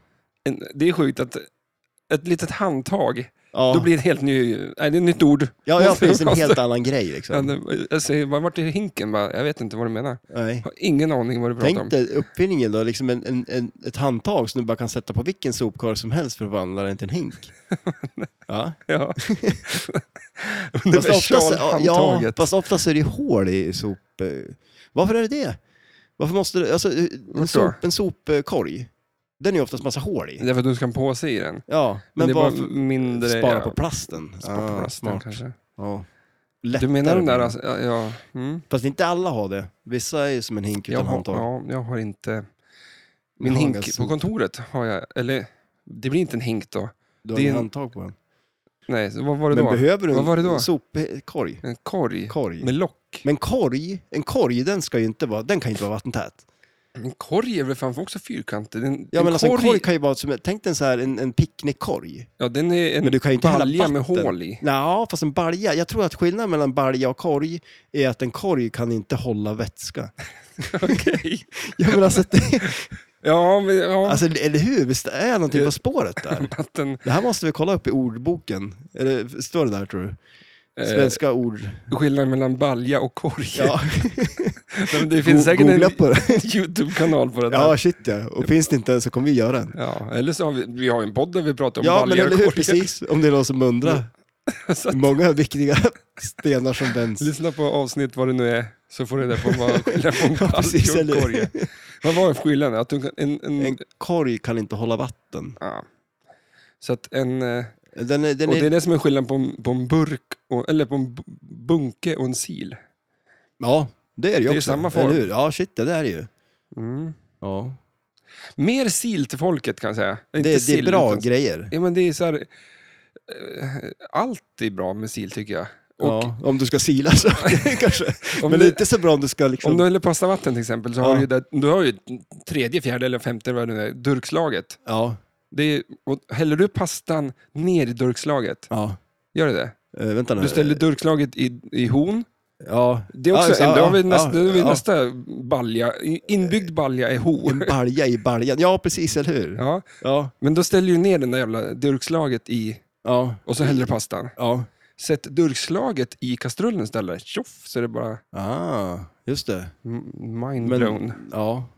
S2: En, det är sjukt att ett litet handtag,
S1: Ja,
S2: då blir det ett helt ny, nej, det är ett nytt ord.
S1: ja, ja precis. En helt annan grej.
S2: Ja,
S1: Liksom.
S2: det- Jag säger, vad vart är hinken? Bara, Jag vet inte vad du menar.
S1: Nej.
S2: Jag har ingen aning vad du pratar om.
S1: Tänk dig uppfinningen då, liksom en, en, en, ett handtag som du bara kan sätta på vilken sopkorg som helst för att förvandla den till en hink. Ja.
S2: Ja.
S1: Fast oftast, ja,
S2: Universalhandtaget.
S1: fast oftast är det ju hål i sop... eh, Varför är det det? Varför måste det, alltså, eh,
S2: då?
S1: en, sop, en sopkorg, den är ju oftast massa hål i.
S2: Det är för att du ska ha en påse i den. Men,
S1: Ja, men,
S2: det är bara
S1: varför
S2: mindre...
S1: spara
S2: ja,
S1: på plasten?
S2: Spara på
S1: Ah,
S2: plasten
S1: smart.
S2: kanske.
S1: Ja.
S2: Du
S1: Lättare
S2: menar den
S1: blir
S2: där...
S1: det.
S2: Alltså, ja, ja. Mm.
S1: Fast inte alla har det. Vissa är ju som en hink
S2: Jag,
S1: utan
S2: har,
S1: handtag.
S2: ja, jag har inte...
S1: Du
S2: Min
S1: har en
S2: hink
S1: ganska-
S2: på kontoret har jag... Eller, det blir inte en hink då.
S1: Du har
S2: det
S1: en
S2: är en-
S1: handtag på den.
S2: Nej, så vad var det
S1: Men
S2: då?
S1: behöver du
S2: Vad var det
S1: en
S2: då?
S1: sopkorg?
S2: En korg
S1: Korg.
S2: med lock.
S1: Men korg, en korg, den ska ju inte vara, den kan ju inte vara vattentät.
S2: En korg är väl fan också fyrkantig? Den,
S1: Ja,
S2: en
S1: men alltså en
S2: korg-
S1: korg kan ju vara som, tänk dig en så här, en, en picknickkorg.
S2: Ja, den är en
S1: Men du kan ju inte hälla
S2: balja med
S1: vatten.
S2: hål i.
S1: Ja, fast en balja. Jag tror att skillnaden mellan balja och korg är att en korg kan inte hålla vätska.
S2: Okej.
S1: Ja, men alltså, det,
S2: Ja, men... Ja.
S1: alltså, eller hur? Visst är jag någonting på spåret där?
S2: vatten,
S1: Det här måste vi kolla upp i ordboken. Eller, står det där tror du?
S2: eh,
S1: Svenska ord.
S2: skillnaden mellan balja och korg.
S1: Ja,
S2: Nej, men det finns
S1: Go-
S2: säkert
S1: googla
S2: en
S1: på det.
S2: YouTube-kanal på det där.
S1: ja shit ja. Och finns det inte så kommer vi göra en.
S2: Ja, eller så har vi, vi har en podd där vi pratar om
S1: Ja, men
S2: balja
S1: eller
S2: och
S1: hur?
S2: korgar.
S1: Precis. Om det är någon som undrar.
S2: Så att-
S1: Många viktiga stenar som vänds.
S2: Lyssna på avsnitt vad det nu är, så får du reda på vad skillnaden på en
S1: Ja,
S2: balja
S1: precis,
S2: och en
S1: eller-
S2: korg är. Vad var skillnaden? Att du kan, en, en,
S1: En korg kan inte hålla vatten.
S2: ja. Så att en, eh,
S1: Den är, den
S2: och
S1: är,
S2: det är det som är skillnaden på en, på en burk, och, eller på en bu- bunke och en sil.
S1: Ja, det är det ju
S2: Det är
S1: också.
S2: samma form.
S1: eller hur? Ja, shit, det där är ju.
S2: Mm.
S1: Ja.
S2: Mer sil till folket kan jag säga.
S1: Det,
S2: Inte
S1: det är
S2: sill,
S1: bra
S2: utan-
S1: grejer.
S2: Ja, men det är så här, eh, allt är bra med sil tycker jag. Och
S1: ja, om du ska sila så kanske. men
S2: Om du-
S1: det är inte så bra om du ska liksom...
S2: Om du häller pastavatten till exempel, så har
S1: Ja.
S2: du, ju det, du har ju tredje, fjärde eller femte vad det nu är, durkslaget.
S1: Ja,
S2: Det är, och häller du pastan ner i durkslaget,
S1: ja.
S2: gör du det?
S1: Eh, vänta nu.
S2: Du ställer durkslaget i, i horn.
S1: Ja.
S2: Det är också
S1: ja, just-
S2: en,
S1: ja,
S2: då har vi,
S1: ja,
S2: nästa, då har vi
S1: ja.
S2: nästa balja. I- Inbyggd balja är
S1: En
S2: horn.
S1: balja i baljan. Ja, precis, eller hur? Ja.
S2: Ja,
S1: Ja,
S2: men då ställer du ner den där jävla durkslaget i
S1: ja.
S2: och så häller du pastan. Sätt durkslaget i kastrullen istället. Tjoff, så är det bara
S1: Ah, just det.
S2: m- mindblown.
S1: ja.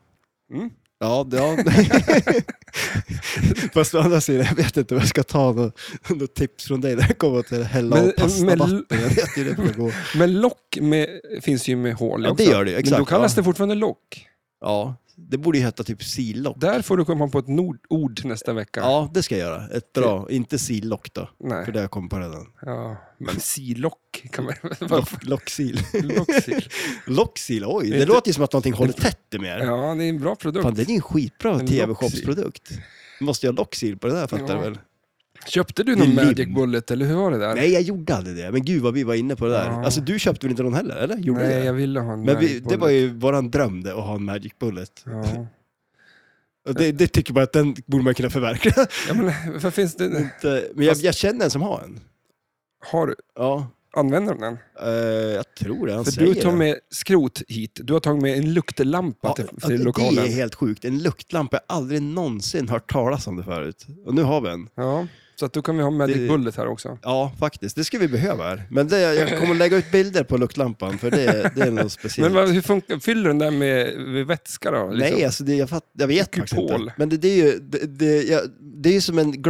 S2: Mm.
S1: Ja, det, ja. Fast å andra sidan, jag vet inte vad jag ska ta något, något tips från dig när jag kommer till att hälla
S2: Men-
S1: av pastavatten.
S2: men-
S1: Jag vet ju det kommer gå.
S2: Men lock med, finns ju med hål i
S1: Ja, det
S2: också.
S1: gör det ju,
S2: Men
S1: exakt,
S2: då kallas
S1: ja.
S2: det fortfarande lock.
S1: Ja, det borde ju heta typ sillock.
S2: Där får du komma på ett nord- ord nästa vecka.
S1: Ja, det ska jag göra. Ett bra, inte sillock då.
S2: Nej.
S1: För det har jag kommit på redan.
S2: Ja. Men silock kan man
S1: Lock- Locksil.
S2: Locksil.
S1: Locksil, oj. Det
S2: Inte-
S1: låter ju som att någonting håller tätt i mig. här.
S2: Ja, det är en bra produkt.
S1: Fan, det är ju en skitbra
S2: En
S1: TV-shopsprodukt. Måste jag ha locksil på det där fattar
S2: Ja.
S1: du väl?
S2: Köpte du
S1: Det
S2: någon
S1: är
S2: Magic
S1: lim.
S2: Bullet eller hur var det där?
S1: Nej, jag gjorde aldrig det. Men gud vad vi var inne på det där.
S2: Ja.
S1: Alltså du köpte väl inte någon heller, eller? Gjorde du
S2: Nej,
S1: det?
S2: jag ville ha en
S1: Men vi,
S2: Magic
S1: det var
S2: Bullet.
S1: ju våran dröm det, att ha en Magic Bullet.
S2: Ja.
S1: Och Det, det tycker man att den borde man kunna förverkliga.
S2: ja, men varför finns det...
S1: Inte- Men jag,
S2: Fast-
S1: jag känner en som har en.
S2: Har du...
S1: Ja,
S2: Använder de den?
S1: eh, jag tror det. Han
S2: För
S1: säger
S2: du tar
S1: det.
S2: med skrot hit. Du har tagit med en luktlampa
S1: Ja,
S2: till,
S1: ja,
S2: till
S1: det-
S2: lokalen.
S1: Det är helt sjukt. En luktlampa, jag har aldrig någonsin hört talas om det förut. Och nu har vi en.
S2: Ja, så att då kan vi ha Magic
S1: Det-
S2: Bullet här också.
S1: Ja, faktiskt. Det ska vi behöva här. Men det, jag kommer lägga ut bilder på luktlampan, för det, det är något speciellt.
S2: Men vad, hur funkar, fyller den där med, med vätska då? liksom?
S1: Nej, alltså det, jag, fatt, jag vet faktiskt
S2: Kupol.
S1: inte. Men det, det är ju det, det, ja, det är ju som en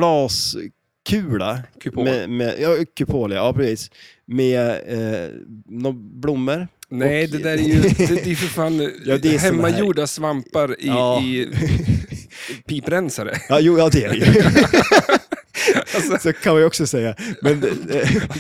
S1: glaskula.
S2: Kupol.
S1: Med, med, ja, kupol, ja, ja precis. Med eh, några blommor.
S2: Nej,
S1: Och-
S2: det där är ju det, det är för fan
S1: Ja, det är såna här-
S2: hemmagjorda svampar i,
S1: Ja.
S2: i piprensare.
S1: Ja, jo, ja det är det ju.
S2: Alltså,
S1: Så kan man ju också säga. Men eh,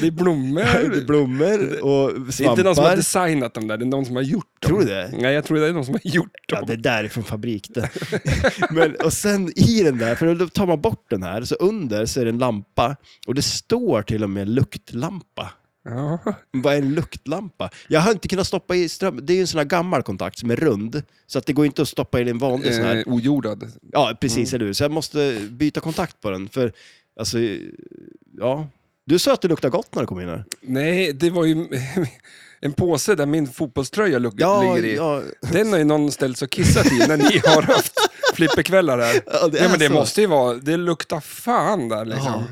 S2: det är blommor.
S1: det är blommor och
S2: Det är inte någon som har
S1: svampar.
S2: designat dem där, det är någon som har gjort dem.
S1: Tror du det?
S2: Nej, jag tror det är någon som har gjort
S1: Ja,
S2: dem.
S1: det där är från fabrik det. Men, och sen i den där, för då tar man bort den här, så under så är det en lampa. Och det står till och med luktlampa.
S2: Ja.
S1: Vad är en luktlampa? Jag har inte kunnat stoppa i ström. Det är ju en sån här gammal kontakt som är rund. Så att det går inte att stoppa in en vanlig sån här.
S2: Eh, mm. ojordad.
S1: Ja, precis, eller hur? Så jag måste byta kontakt på den. För, alltså, ja. Du sa att det luktar gott när du kom in här.
S2: Nej, det var ju en påse där min fotbollströja luk- ligger i.
S1: ja.
S2: Den har ju någon ställt sig och kissat i när ni har haft flipperkvällar här.
S1: Ja, det är
S2: ja, men det
S1: så.
S2: måste ju vara, det luktar fan där liksom.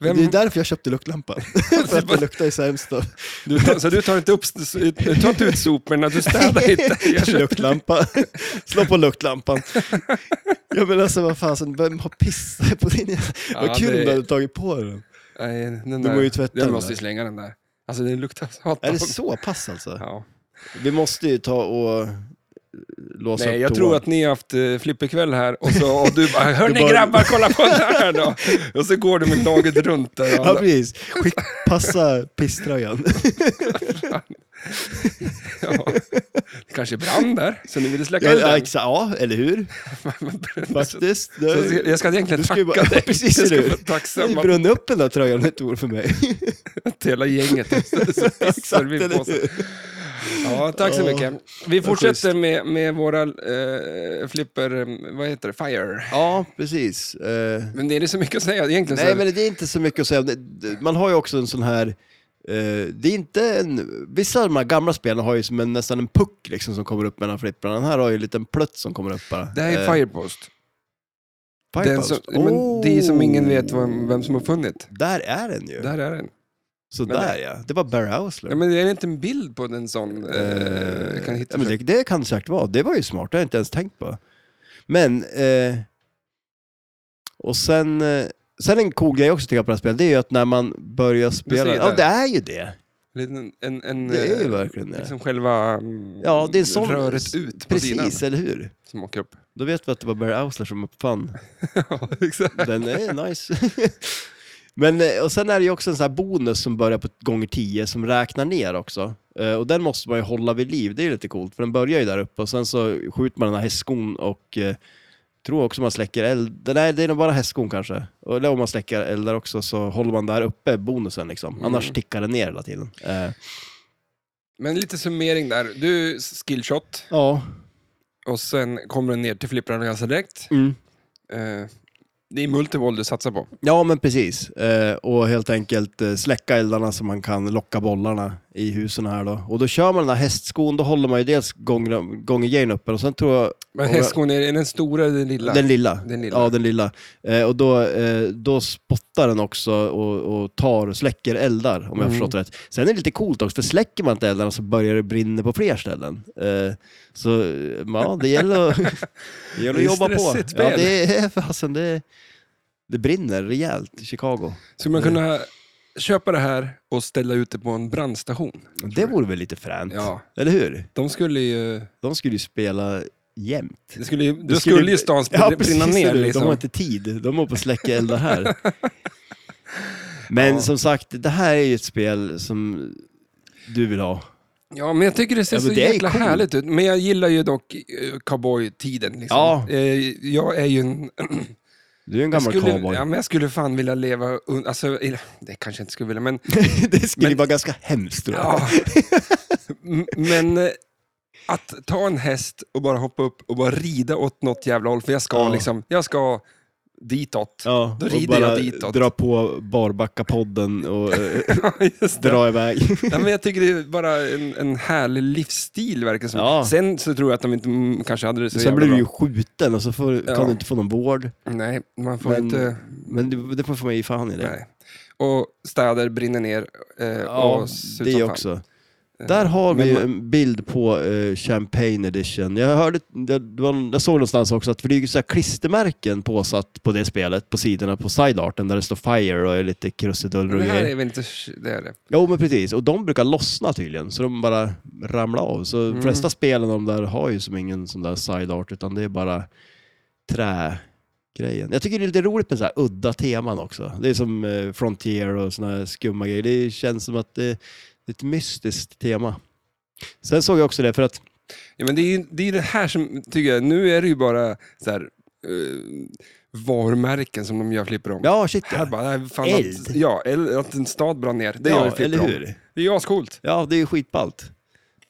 S2: Vem,
S1: Det är därför jag köpte luktlampan. för att det luktar ju sämst då.
S2: du, tar- så du tar inte, upp, du tar inte ut soporna, du städar inte. Jag köpte-
S1: Luktlampa. Slå på luktlampan. Jag menar alltså, vad fan, så vem har pissat på din jävla...
S2: Ja,
S1: vad kul
S2: det-
S1: om du hade tagit på den.
S2: Nej, den
S1: Du
S2: där,
S1: går ju tvätta
S2: Jag
S1: den
S2: måste ju
S1: där.
S2: slänga den där. Alltså den luktar satan.
S1: Är det så pass alltså?
S2: Ja.
S1: Vi måste ju ta och eh, låsa
S2: Nej,
S1: upp
S2: jag
S1: toan.
S2: tror att ni har haft eh, flipperkväll här och, så, och du bara, hörni
S1: Du bara-
S2: grabbar, kolla på den här då. Och så går du med naget runt där. och
S1: Ja,
S2: alla-
S1: precis. Skick, passa pisströjan.
S2: Ja. Det kanske brann där, så ni ville släcka
S1: Ja, ja,
S2: elden.
S1: exa- ja, eller hur? Faktiskt. Det
S2: Så jag ska- jag ska egentligen
S1: Du ska ju
S2: tacka
S1: bara-
S2: dig.
S1: Ja, precis,
S2: jag ska
S1: eller hur?
S2: vara
S1: Du
S2: tacksam att
S1: brann upp den där tröjan ett ord för mig.
S2: hela gänget
S1: Exakt,
S2: Exakt,
S1: eller hur?
S2: Ja, tack så
S1: Ja,
S2: mycket. Vi fortsätter
S1: schysst.
S2: med, med våra eh, flipper, eh, vad heter det, fire.
S1: Ja, precis. Eh,
S2: Men det är det så mycket att säga egentligen.
S1: Nej,
S2: så här-
S1: men det är inte så mycket att säga. Det- det- Man har ju också en sån här... eh, det är inte en... Vissa av de här gamla spelen har ju som en, nästan en puck liksom, som kommer upp mellan flipprarna. Den här har ju en liten plutt som kommer upp bara.
S2: Det här är
S1: Eh,
S2: Firepost. Den
S1: Firepost.
S2: som, men det är som ingen vet vem,
S1: Oh.
S2: vem som har funnit.
S1: Där är den ju.
S2: Där är den.
S1: Så
S2: Men-
S1: där ja. Det var Barry Housler.
S2: Ja, men är det inte en bild på en sån? Eh, jag kan hitta
S1: ja, men det, det kan det säkert vara. Det var ju smart, det har jag inte ens tänkt på. Men, eh, och sen, eh, sen en cool grej också tycker jag på det här spelet, det är ju att när man börjar spela,
S2: säger
S1: ja
S2: det.
S1: det är ju det.
S2: En, en, en,
S1: Det är ju
S2: eh,
S1: verkligen det.
S2: Liksom själva mm,
S1: Ja, det är en sån...
S2: röret ut på sidan
S1: Precis, eller hur?
S2: som åker upp.
S1: Då vet vi att det var Barry Ausler som uppfann.
S2: ja, exakt.
S1: Den är nice. Men, eh, och sen är det ju också en sån här bonus som börjar på gånger 10 som räknar ner också. Eh, Och den måste man ju hålla vid liv, det är ju lite coolt. För den börjar ju där uppe och sen så skjuter man den här hästskon och eh, tror också man släcker eld. Nej, det är nog bara hästskon kanske. Och eller om man släcker eldar också så håller man där uppe bonusen liksom.
S2: Mm.
S1: Annars tickar den ner hela tiden. Eh,
S2: Men lite summering där. Du, skillshot,
S1: Ja.
S2: och sen kommer den ner till flipprarna ganska direkt.
S1: Mm.
S2: Eh, det är multivoll du satsar på.
S1: Ja, men precis. Eh, och helt enkelt eh, släcka eldarna så man kan locka bollarna i husen här då. Och då kör man den här hästskon, då håller man ju dels gång- gångerjärn uppe och sen tror jag...
S2: Men
S1: om jag-
S2: hästskon, är det den stora eller den lilla?
S1: Den lilla.
S2: Den lilla.
S1: Ja, den lilla. Eh, och då, eh, då spottar den också och, och tar, släcker eldar, om jag har
S2: Mm.
S1: förstått rätt. Sen är det lite coolt också, för släcker man inte eldarna så börjar det brinna på fler ställen. Eh, så eh, ja, det gäller att, det gäller
S2: Det är
S1: att jobba på.
S2: stressigt
S1: Ja,
S2: spel.
S1: det är fasen, det, det brinner rejält i Chicago.
S2: Skulle man
S1: Mm.
S2: kunna köpa det här och ställa ut det på en brandstation?
S1: Det vore väl lite fränt?
S2: Ja,
S1: Eller hur?
S2: de skulle ju...
S1: De skulle ju spela jämt.
S2: Det skulle ju, då skulle ju stan
S1: Ja,
S2: spr- brinna
S1: precis,
S2: ner
S1: eller hur? De har
S2: liksom.
S1: inte tid. De håller på att släcka eldar här. Men
S2: Ja.
S1: som sagt, det här är ju ett spel som du vill ha.
S2: Ja, men jag tycker det ser
S1: Ja, men
S2: så
S1: det är
S2: jäkla
S1: coolt.
S2: härligt ut. Men jag gillar ju dock eh, cowboy-tiden. Liksom.
S1: Ja.
S2: Eh, Jag är ju en
S1: Du är en
S2: Jag
S1: gammal
S2: skulle,
S1: cowboy.
S2: Ja, men jag skulle fan vilja leva... un- Alltså, eller, det kanske jag inte skulle vilja, men...
S1: det skulle
S2: men-
S1: vara ganska hemskt tror jag.
S2: ja. M- men eh, att ta en häst och bara hoppa upp och bara rida åt något jävla håll, för jag ska
S1: Ja.
S2: liksom... Jag ska ditåt.
S1: Ja,
S2: Då
S1: och
S2: rider jag
S1: bara
S2: ditåt.
S1: dra på Barbackapodden och eh,
S2: Just det.
S1: dra iväg.
S2: Ja, men jag tycker det är bara en, en härlig livsstil, verkar det som.
S1: Ja.
S2: Sen så tror jag att de inte mm, kanske hade det så
S1: Sen
S2: jävla
S1: blir du ju
S2: bra.
S1: skjuten och så får,
S2: Ja.
S1: kan du inte få någon vård.
S2: Nej, man får
S1: Men-
S2: inte...
S1: Men det, det får man ge fan i det.
S2: Nej. Och städer brinner ner. Eh,
S1: Ja,
S2: och ser ut
S1: det
S2: som fan.
S1: också.
S2: Eh,
S1: Där har
S2: men
S1: vi ju
S2: man-
S1: en bild på eh, Champagne Edition. Jag, hörde, det var, jag såg någonstans också att för det är ju så här klistermärken påsatt på det spelet på sidorna på sidearten där det står Fire och är lite krusiduller och
S2: Men det här
S1: grejer.
S2: är väl inte... Det är det.
S1: Jo men precis, och de brukar lossna tydligen så de bara ramlar av. Så de
S2: Mm.
S1: flesta spelen de där har ju som ingen sån där sideart utan det är bara trä grejen. Jag tycker det är lite roligt med så här udda teman också. Det är som eh, Frontier och såna här skumma grejer. Det känns som att det är ett mystiskt tema. Sen såg jag också det för att,
S2: Ja, men det är ju det, är det här som, tycker jag, nu är det ju bara så här, eh, varumärken som de gör flipper om.
S1: ja shit
S2: Här bara, nej, fan,
S1: Eld.
S2: Att, ja, el- att en stad brann ner. Det gör
S1: ja,
S2: vi flipper
S1: eller
S2: om.
S1: hur?
S2: Det är ju ascoolt.
S1: Ja, det är ju skitballt.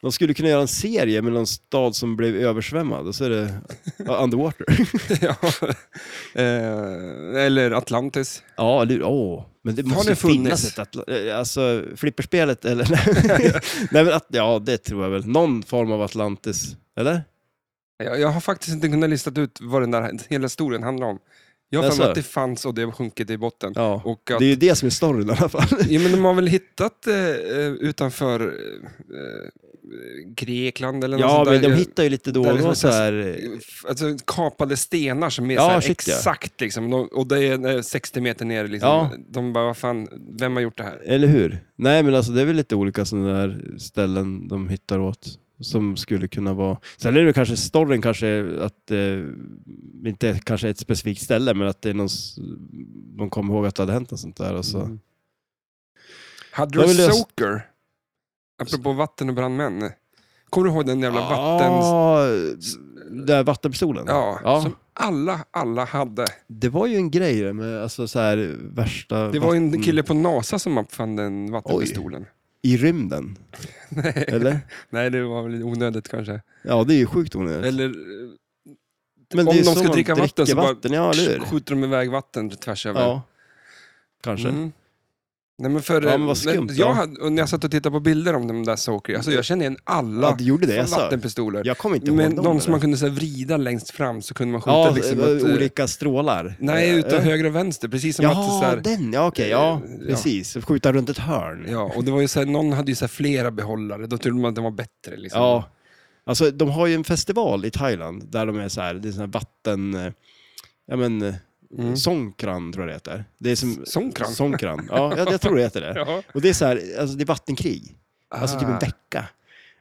S1: De skulle kunna göra en serie med någon stad som blev översvämmad och så är det ja, underwater.
S2: ja. eh, eller Atlantis.
S1: ja, eller hur? Åh, men det måste
S2: det
S1: ju finnas
S2: funnits?
S1: ett atla- eh, alltså, flipperspelet eller? Nej, men att, ja, det tror jag väl. Någon form av Atlantis, eller?
S2: Jag, jag har faktiskt inte kunnat lista ut vad den där hela historien handlar om. Jag har för
S1: Jaså?
S2: mig att det fanns och det har sjunkit i botten.
S1: Alltså. Ja,
S2: Och att,
S1: det är ju det som är storyn i alla fall.
S2: ja, men de har väl hittat eh, eh, utanför eh, Grekland eller något
S1: ja,
S2: sånt
S1: men
S2: alltså, där.
S1: de hittar ju lite då
S2: där
S1: och
S2: liksom
S1: då så
S2: ett-
S1: här... eh,
S2: Alltså kapade stenar som är
S1: Ja,
S2: så här
S1: shit, ja.
S2: exakt liksom. De, och det är eh, 60 meter ner liksom.
S1: Ja.
S2: De bara, vad fan, vem har gjort det här?
S1: Eller hur? Nej, men alltså det är väl lite olika sådana där ställen de hittar åt som skulle kunna vara... Sen är det kanske storyn kanske är att, eh, inte kanske ett specifikt ställe, men att det är någon, s- de kommer ihåg att det hade hänt och sånt där. alltså. Och så.
S2: Mm.
S1: Det är väl det-
S2: Hadrosoker. Apropå vatten och brandmän. Kommer du ihåg den jävla vatten...
S1: Ah, där vattenpistolen?
S2: Ja, som alla, alla hade.
S1: Det var ju en grej det med alltså, så här, värsta...
S2: Det var ju en
S1: vatten-
S2: kille på NASA som uppfann den vattenpistolen.
S1: I rymden,
S2: Nej.
S1: eller?
S2: Nej, det var väl onödigt kanske.
S1: Ja, det är ju sjukt onödigt.
S2: Eller eh,
S1: Men det
S2: om
S1: är ju
S2: de
S1: så
S2: ska
S1: man
S2: dricka vatten
S1: dricker
S2: så bara-
S1: vatten, ja, eller hur?
S2: eh, skjuter de iväg vatten tvärs över.
S1: Ja, kanske.
S2: Mm. Nej, men för,
S1: Ja, men vad skumt,
S2: men
S1: ja.
S2: jag hade, och när jag satt och tittade på bilder om de där Soker, alltså jag kände igen alla
S1: Ja, det gjorde det. Jag sa.
S2: vattenpistoler.
S1: Jag kommer inte
S2: men
S1: ihåg dem,
S2: de som
S1: eller?
S2: man kunde så här, vrida längst fram så kunde man skjuta
S1: Ja,
S2: liksom
S1: eh,
S2: åt, eh,
S1: olika strålar.
S2: Nej,
S1: Eh,
S2: utan
S1: eh.
S2: höger och vänster. Precis som att det
S1: Jaha,
S2: så här,
S1: den. Ja, okej. ja,
S2: Eh,
S1: precis. Skjuta runt ett hörn. Ja.
S2: Ja, och det var ju så här, någon hade ju så här flera behållare, då trodde man att den var bättre. Liksom.
S1: Alltså, de har ju en festival i Thailand där de är så här, det är sån här vatten... eh, Ja, men... eh,
S2: Mm.
S1: Songkran tror jag det heter. Det är som...
S2: Songkran?
S1: Songkran. Ja, jag, jag tror det heter det.
S2: Ja.
S1: Och det är så här, alltså det är vattenkrig. Alltså typ en
S2: Ah.
S1: vecka.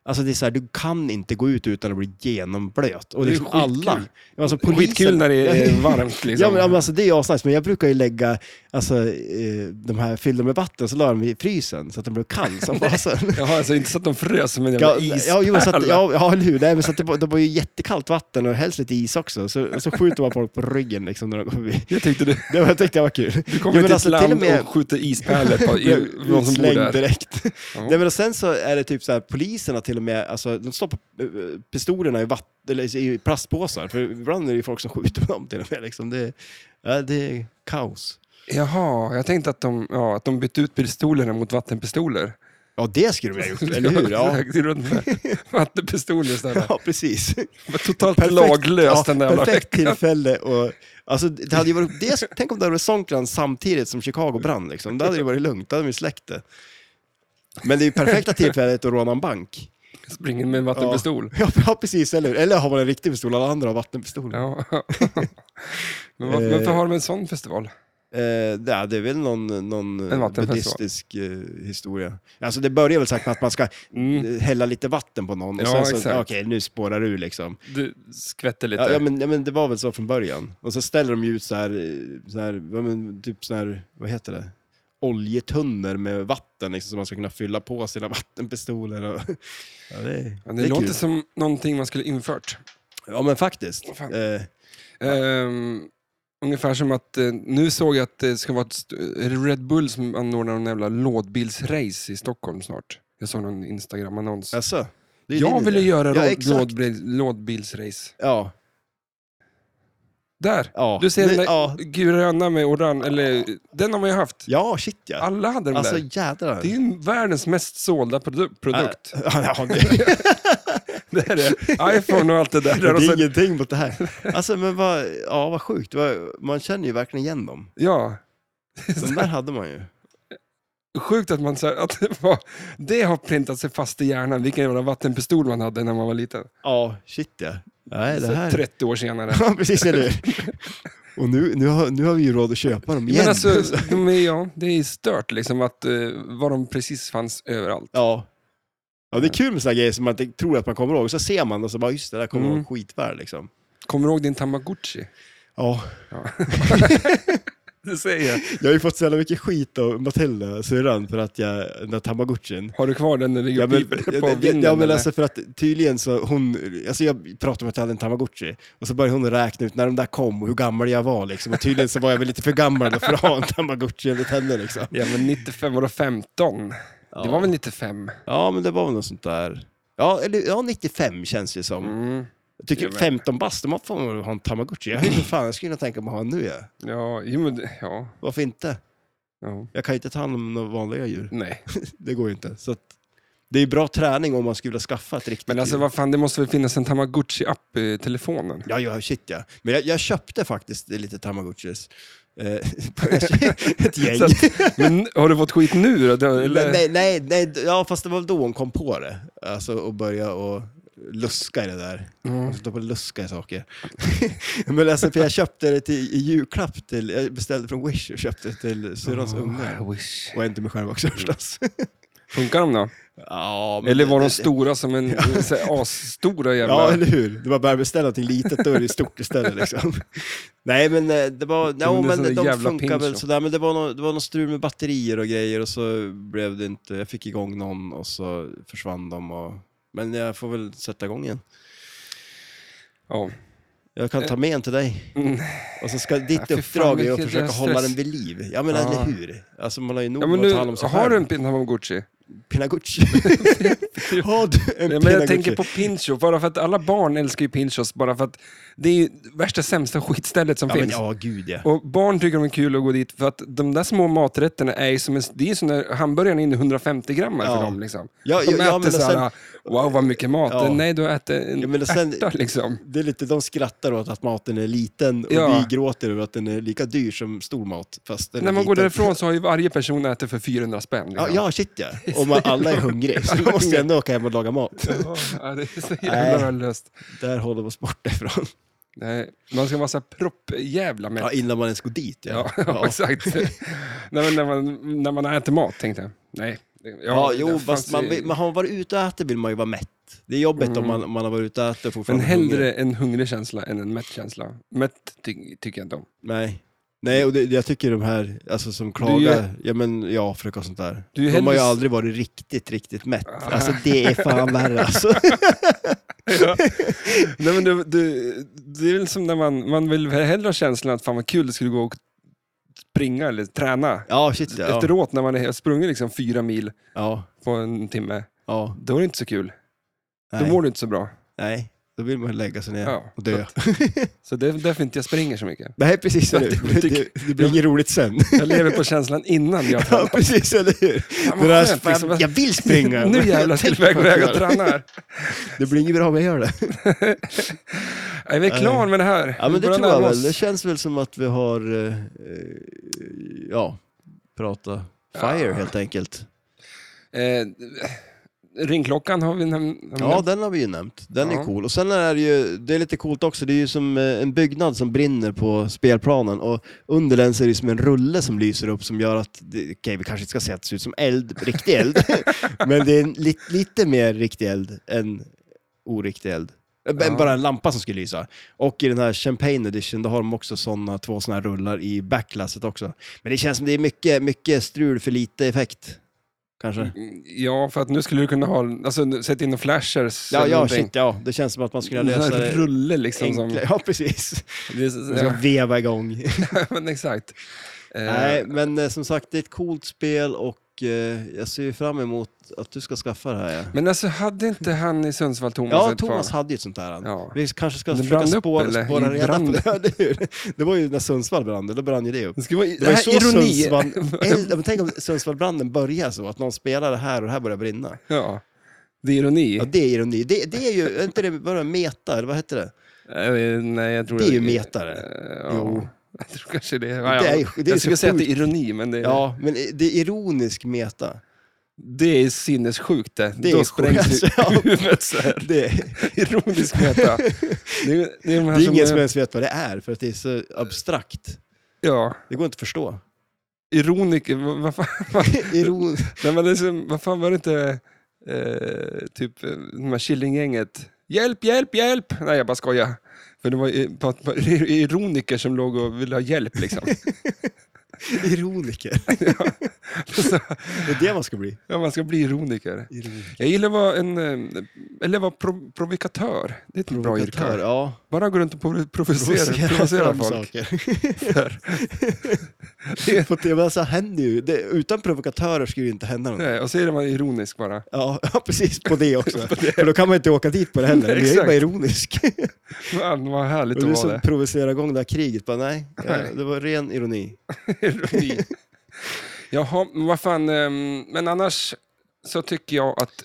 S1: Alltså det är så här, du kan inte gå ut utan att bli genomblöt. Och
S2: Det är
S1: liksom
S2: skitkul.
S1: alla... Alltså
S2: Skitkul när det är varmt liksom.
S1: Ja, men, ja, men alltså, det är ju asnice, men jag brukar ju lägga alltså, eh, de här fyllda med vatten, så la jag dem i frysen så att den blev kall som fasen.
S2: Jaha, alltså inte så att de frös som en
S1: Ja,
S2: jävla is.
S1: ja, jo, så att, ja, ja, eller hur. Nej, men så att det, var- det var ju jättekallt vatten och helst lite is också. Så, så skjuter man folk på ryggen liksom, när de går förbi.
S2: Jag tyckte du,
S1: Det var, jag tyckte det var kul.
S2: du
S1: Jo,
S2: kommer
S1: men
S2: till
S1: alltså,
S2: ett
S1: till och
S2: land
S1: med-
S2: och skjuter ispärlor på i- någon som bor
S1: Utslängd
S2: där.
S1: direkt.
S2: Ja.
S1: Nej, men och sen så är det typ så här, poliserna till och med, alltså, de stoppar eh, pistolerna i, vatt, eller, i plastpåsar, för ibland är det ju folk som skjuter på dem till och med. Liksom. Det, ja, det är kaos.
S2: Jaha, jag tänkte att de, ja, att de bytte ut pistolerna mot vattenpistoler.
S1: Ja, det skulle vi ha gjort, eller hur? Ja,
S2: Exakt, runt med Vattenpistoler istället.
S1: ja precis.
S2: Var Totalt laglöst den där jävla
S1: perfekt
S2: veckan.
S1: tillfälle. Och, alltså, det hade ju varit, det, tänk om det hade varit Songkran samtidigt som Chicago brann. Liksom. Det hade ju varit lugnt, då hade de ju släckt det. Men det är ju perfekta tillfället att råna en bank.
S2: Springer med en vattenpistol.
S1: Ja, ja precis. Eller, hur? eller har man en riktig pistol, alla andra har vattenpistoler.
S2: Ja. men varför, varför har de en sån festival?
S1: Eh, det är- det är väl någon, någon
S2: En
S1: eh,
S2: vattenfestival.
S1: buddhistisk eh, historia. Alltså det börjar väl sagt med att man ska eh, hälla lite vatten på någon och
S2: Mm.
S1: sen
S2: Ja,
S1: så,
S2: exakt.
S1: okej nu spårar du liksom.
S2: Du skvätter lite.
S1: Ja, ja, men, ja men det var väl så från början. Och så ställer de ju ut så här, eh, så här ja, men, typ så här, vad heter det? Oljetunnor med vatten liksom, som man ska kunna fylla på sina vattenpistoler. Och... Ja, det, är-
S2: Ja,
S1: det
S2: det,
S1: är
S2: låter
S1: kul.
S2: som någonting man skulle infört.
S1: Ja men faktiskt.
S2: Vad fan.
S1: Eh,
S2: Ehm, ungefär som att, eh, nu såg jag att det ska vara ett st- är det Red Bull som anordnar någon jävla lådbilsrace i Stockholm snart. Jag såg någon Instagram-annons.
S1: alltså, det är
S2: Jag
S1: din
S2: ville
S1: idé.
S2: göra
S1: Ja,
S2: låd-
S1: exakt.
S2: lådbil- lådbilsrace.
S1: Ja,
S2: Där!
S1: ja.
S2: Du ser
S1: Nu-
S2: den där
S1: ja.
S2: gröna med orange, eller den har man ju haft.
S1: Ja, shit ja.
S2: Alla hade den
S1: Alltså
S2: där.
S1: jädrar.
S2: Det är ju världens mest sålda produ- produkt.
S1: ja, det,
S2: Det är det. iPhone och allt det
S1: det
S2: där. Och
S1: är
S2: så,
S1: ingenting mot det här. Alltså, men vad, ja, vad sjukt. Vad- Man känner ju verkligen igen dem.
S2: ja.
S1: De där hade man ju.
S2: Sjukt att, man, så här- att det, var, det har printat sig fast i hjärnan, vilken jävla vattenpistol man hade när man var liten.
S1: Ja, shit ja. Nej,
S2: Så
S1: det här...
S2: 30 år senare.
S1: Ja, precis, eller hur? Och nu, nu, har, nu har vi ju råd att köpa dem igen.
S2: Men alltså, de är, ja, det är stört liksom att eh, vad de precis fanns överallt.
S1: ja. ja, det är kul med sådana grejer som man inte tror att man kommer ihåg. Så ser man och så bara, just det, där kommer man
S2: Mm.
S1: ihåg skitväl liksom.
S2: Kommer du ihåg din Tamagotchi?
S1: Ja,
S2: Du säger.
S1: jag har ju fått så jävla mycket skit av Matilda, syrran, för att jag, den där tamagotchin.
S2: Har du kvar den när du
S1: Ja
S2: ja,
S1: men,
S2: piper på
S1: ja,
S2: vinden?
S1: ja, men
S2: eller?
S1: alltså för att tydligen så hon, alltså jag pratade om att jag hade en tamagotchi och så började hon räkna ut när de där kom och hur gammal jag var liksom. Och tydligen så var jag väl lite för gammal då för att ha en tamagotchi enligt henne liksom.
S2: Ja, men 95, vadå 15? Det var väl 95?
S1: Ja men det var väl något sånt där. Ja, eller, ja 95 känns det som.
S2: Mm.
S1: Jag tycker
S2: Jo, men-
S1: 15 bast, man får ha en tamagotchi. Jag, har ju för fan, jag skulle kunna tänka mig att ha en nu. Ja.
S2: Ja, jo, men, det- ja,
S1: Varför inte?
S2: ja.
S1: Jag kan ju inte ta hand om några vanliga djur.
S2: Nej,
S1: Det går ju inte. Så att, det är ju bra träning om man skulle skaffa ett riktigt
S2: men alltså
S1: djur.
S2: vad fan, det måste väl finnas en Tamagotchi-app i telefonen?
S1: Ja, ja, shit ja. Men jag, jag köpte faktiskt lite tamagotchis. Eh, ett gäng.
S2: Så att, men har du fått skit nu då? Det- Eller?
S1: Men Nej, nej, nej, ja, fast det var då hon kom på det. Alltså och börja och luska i det där. Hon sitter på och luska i saker. Men alltså, för jag köpte det till, i julklapp till, jag beställde från Wish och köpte det till syrrans ungar.
S2: I Ah, wish.
S1: Och en till mig själv också förstås.
S2: Funkar de då?
S1: Ja, men-
S2: Eller var de stora som en så här asstora jävla...
S1: Ja, eller hur? Det var bara att beställa någonting litet, då är det stort istället. Liksom. Nej, men eh, det var...
S2: Ja,
S1: Ja,
S2: men det
S1: men
S2: är sån där
S1: de
S2: jävla
S1: funkar väl
S2: pinch,
S1: sådär, men det var, någon, det var någon strul med batterier och grejer och så blev det inte... Jag fick igång någon och så försvann de och... Men jag får väl sätta igång igen.
S2: Ja.
S1: Jag kan ta med en till dig.
S2: Eh. Mm.
S1: Och så ska
S2: Ja,
S1: ditt
S2: fy fan,
S1: uppdrag är att
S2: vilket
S1: försöka
S2: jävla
S1: hålla den
S2: stress.
S1: vid liv. Ja, men
S2: Ja.
S1: eller hur? Alltså man har ju nog
S2: ja, men
S1: att
S2: nu,
S1: ta hand om sig
S2: har du en
S1: själv.
S2: pin Tamagotchi?
S1: Pinagucci. har du en
S2: Nej,
S1: Pinagucci?
S2: men jag tänker på Pincho, bara för att alla barn älskar ju Pinchos, bara för att det är ju värsta sämsta skitstället som
S1: Ja, men
S2: finns.
S1: ja, gud ja.
S2: Och barn tycker de är kul att gå dit för att de där små maträtterna är ju som en, det är ju som när hamburgaren är inne 150 gram
S1: Ja.
S2: för dem. Liksom.
S1: Ja,
S2: de
S1: ja, ja,
S2: äter
S1: men
S2: så här, wow vad mycket mat.
S1: Ja.
S2: Nej, du äter en
S1: Ja, men sen-
S2: ärta liksom.
S1: Det är lite, de skrattar åt att maten är liten och
S2: Ja.
S1: vi gråter över att den är lika dyr som stor mat. Fast den är
S2: När man går
S1: liten.
S2: därifrån så har ju varje person ätit för 400
S1: Ja,
S2: spänn. Liksom.
S1: ja shit ja. Om man, alla är hungriga så man måste ändå åka hem och laga mat.
S2: Ja, det är så
S1: Nej.
S2: jävla löst.
S1: Där håller vi oss borta ifrån.
S2: Nej, man ska vara så här proppjävla med.
S1: Ja, innan man ens går dit. Ja,
S2: Ja, exakt. Nej, men när, man, när man äter mat, tänkte jag. Nej. Ja,
S1: Ja,
S2: det
S1: jo,
S2: fanns
S1: fast man,
S2: ju- Mm.
S1: vill- man har man varit ute och ätit vill man ju vara mätt. Det är jobbigt om man, om man har varit ute och ätit och
S2: Men
S1: fortfarande hungrig.
S2: hellre en hungrig känsla än en mätt känsla. Mätt ty tycker jag inte om.
S1: Nej. Nej, och det, jag tycker de här alltså, som
S2: Du
S1: klagar
S2: är-
S1: ja, men, i Afrika och sånt där,
S2: Du
S1: de
S2: är
S1: har ju
S2: hellre-
S1: aldrig varit riktigt, riktigt mätt. Alltså det är fan värre alltså.
S2: Nej, men det, det, det är väl som när man, man vill hellre ha känslan att fan vad kul det skulle gå och springa eller träna.
S1: Ja, shit ja.
S2: Efteråt när man har sprungit liksom fyra mil
S1: Ja,
S2: på en timme,
S1: ja.
S2: då är det inte så kul.
S1: Nej.
S2: Då mår du inte så bra.
S1: Nej, då vill man lägga sig ner
S2: Ja,
S1: och dö.
S2: Så det är därför inte jag springer så mycket.
S1: Nej, precis.
S2: Så
S1: eller
S2: att
S1: hur?
S2: jag
S1: Det,
S2: tycker-
S1: det, blir inget roligt sen.
S2: Jag lever på känslan innan jag
S1: ja,
S2: tränar.
S1: precis, eller hur?
S2: Fan,
S1: Det
S2: vad
S1: där,
S2: skönt,
S1: fan,
S2: liksom.
S1: Jag vill springa.
S2: Nu jävlar ska jag iväg och väga och träna här.
S1: Det blir inget bra om jag gör det.
S2: Är vi klara med det här?
S1: Ja, men det
S2: Börjar
S1: tror jag
S2: närma
S1: väl.
S2: oss.
S1: Det känns väl som att vi har, eh, eh, ja, prata fire helt enkelt.
S2: Eh, ringklockan har vi nämnt.
S1: Ja, den har vi ju nämnt. Den
S2: Ja.
S1: är cool. Och sen är det ju, det är lite coolt också, det är ju som eh, en byggnad som brinner på spelplanen och under den så är det som en rulle som lyser upp som gör att, det- okej vi kanske inte ska säga att det ser ut som eld, riktig eld, men det är en, li, lite mer riktig eld än oriktig eld. Än
S2: Ja.
S1: Bara en lampa som ska lysa. Och i den här Champagne Edition, då har de också såna, två sådana här rullar i backlasset också. Men det känns som det är mycket, mycket strul för lite effekt. Kanske.
S2: Mm. Ja, för att nu skulle du kunna ha, alltså sätta in några flashers.
S1: Ja,
S2: eller
S1: ja,
S2: någonting.
S1: shit, ja. Det känns som att man skulle kunna
S2: Den här
S1: lösa det.
S2: rulle liksom.
S1: Enkla-
S2: Som,
S1: Ja, precis.
S2: det är, så-
S1: Man ska
S2: ja,
S1: veva igång.
S2: men exakt. Eh,
S1: Nej, men eh, som sagt, det är ett coolt spel och eh, jag ser ju fram emot att du ska skaffa det här. Ja,
S2: Men alltså, hade inte han i Sundsvall, Thomas,
S1: ja
S2: ett par-
S1: Thomas hade ju ett sånt där.
S2: Ja.
S1: Vi kanske ska
S2: Men det
S1: försöka
S2: brann upp,
S1: spåra,
S2: eller?
S1: spåra
S2: Det
S1: reda
S2: brann.
S1: på det. Ja, det är ju- Det var ju när Sundsvall brann, då brann ju det upp.
S2: Det skulle vara,
S1: Det var ju
S2: här
S1: så
S2: ironi.
S1: Sundsvall, eld, men tänk om Sundsvallbranden börjar så, att någon spelar det här och det här börjar brinna.
S2: Ja, det är ironi.
S1: Ja, det är ironi. Det, det är ju, är inte det, vad är det, meta, eller vad heter det?
S2: Eh, Nej, jag tror
S1: Det är ju metare.
S2: Eh, ja.
S1: Jo.
S2: Jag tror kanske det.
S1: är
S2: Ja,
S1: ju- det är
S2: ja.
S1: ju
S2: jag skulle
S1: så
S2: säga att det är
S1: sjukt.
S2: ironi, men det,
S1: Ja, men eh, det är ironisk meta.
S2: det är sinnessjukt det.
S1: är
S2: Då
S1: sjukt,
S2: sprängs
S1: alltså, ja.
S2: huvudet så här.
S1: Det,
S2: Ironisk meta. Det är, det är, de här
S1: Det är ingen
S2: som
S1: som
S2: är,
S1: ens vet vad det är, för att det är så abstrakt.
S2: ja,
S1: Det går inte att förstå.
S2: ironiker, vad, vad, fan, vad,
S1: Iron...
S2: nej, men det är som, vad fan var det inte, eh, typ eh, de här Killinggänget. Hjälp, hjälp, hjälp! Nej, jag bara skojar. För det var ju på- på- ironiker som låg och ville ha hjälp. Liksom.
S1: Ironiker.
S2: Så,
S1: Det är det man ska bli.
S2: ja, man ska bli ironiker.
S1: Ironiker.
S2: Jag gillar att vara, en, eh, eller vara prov- provokatör. Det är ett bra
S1: Provokatör,
S2: yrke.
S1: Ja.
S2: Bara gå runt och prov- provocera, provocera
S1: fram
S2: folk.
S1: saker.
S2: Det-
S1: För det, men så händer ju. Det, utan provokatörer skulle ju inte hända något.
S2: Nej, och så är man ironisk bara.
S1: Ja, ja, precis. På det också. För då kan man inte åka dit på det heller.
S2: Nej,
S1: Det är ju
S2: exakt.
S1: bara ironisk.
S2: Man, vad härligt
S1: Och
S2: att
S1: du
S2: vara
S1: som
S2: det.
S1: provocerar igång det här kriget. Bara, nej, ja,
S2: Nej.
S1: det var ren ironi.
S2: Ironi. Jaha, men vad fan. ehm, Men annars så tycker jag att...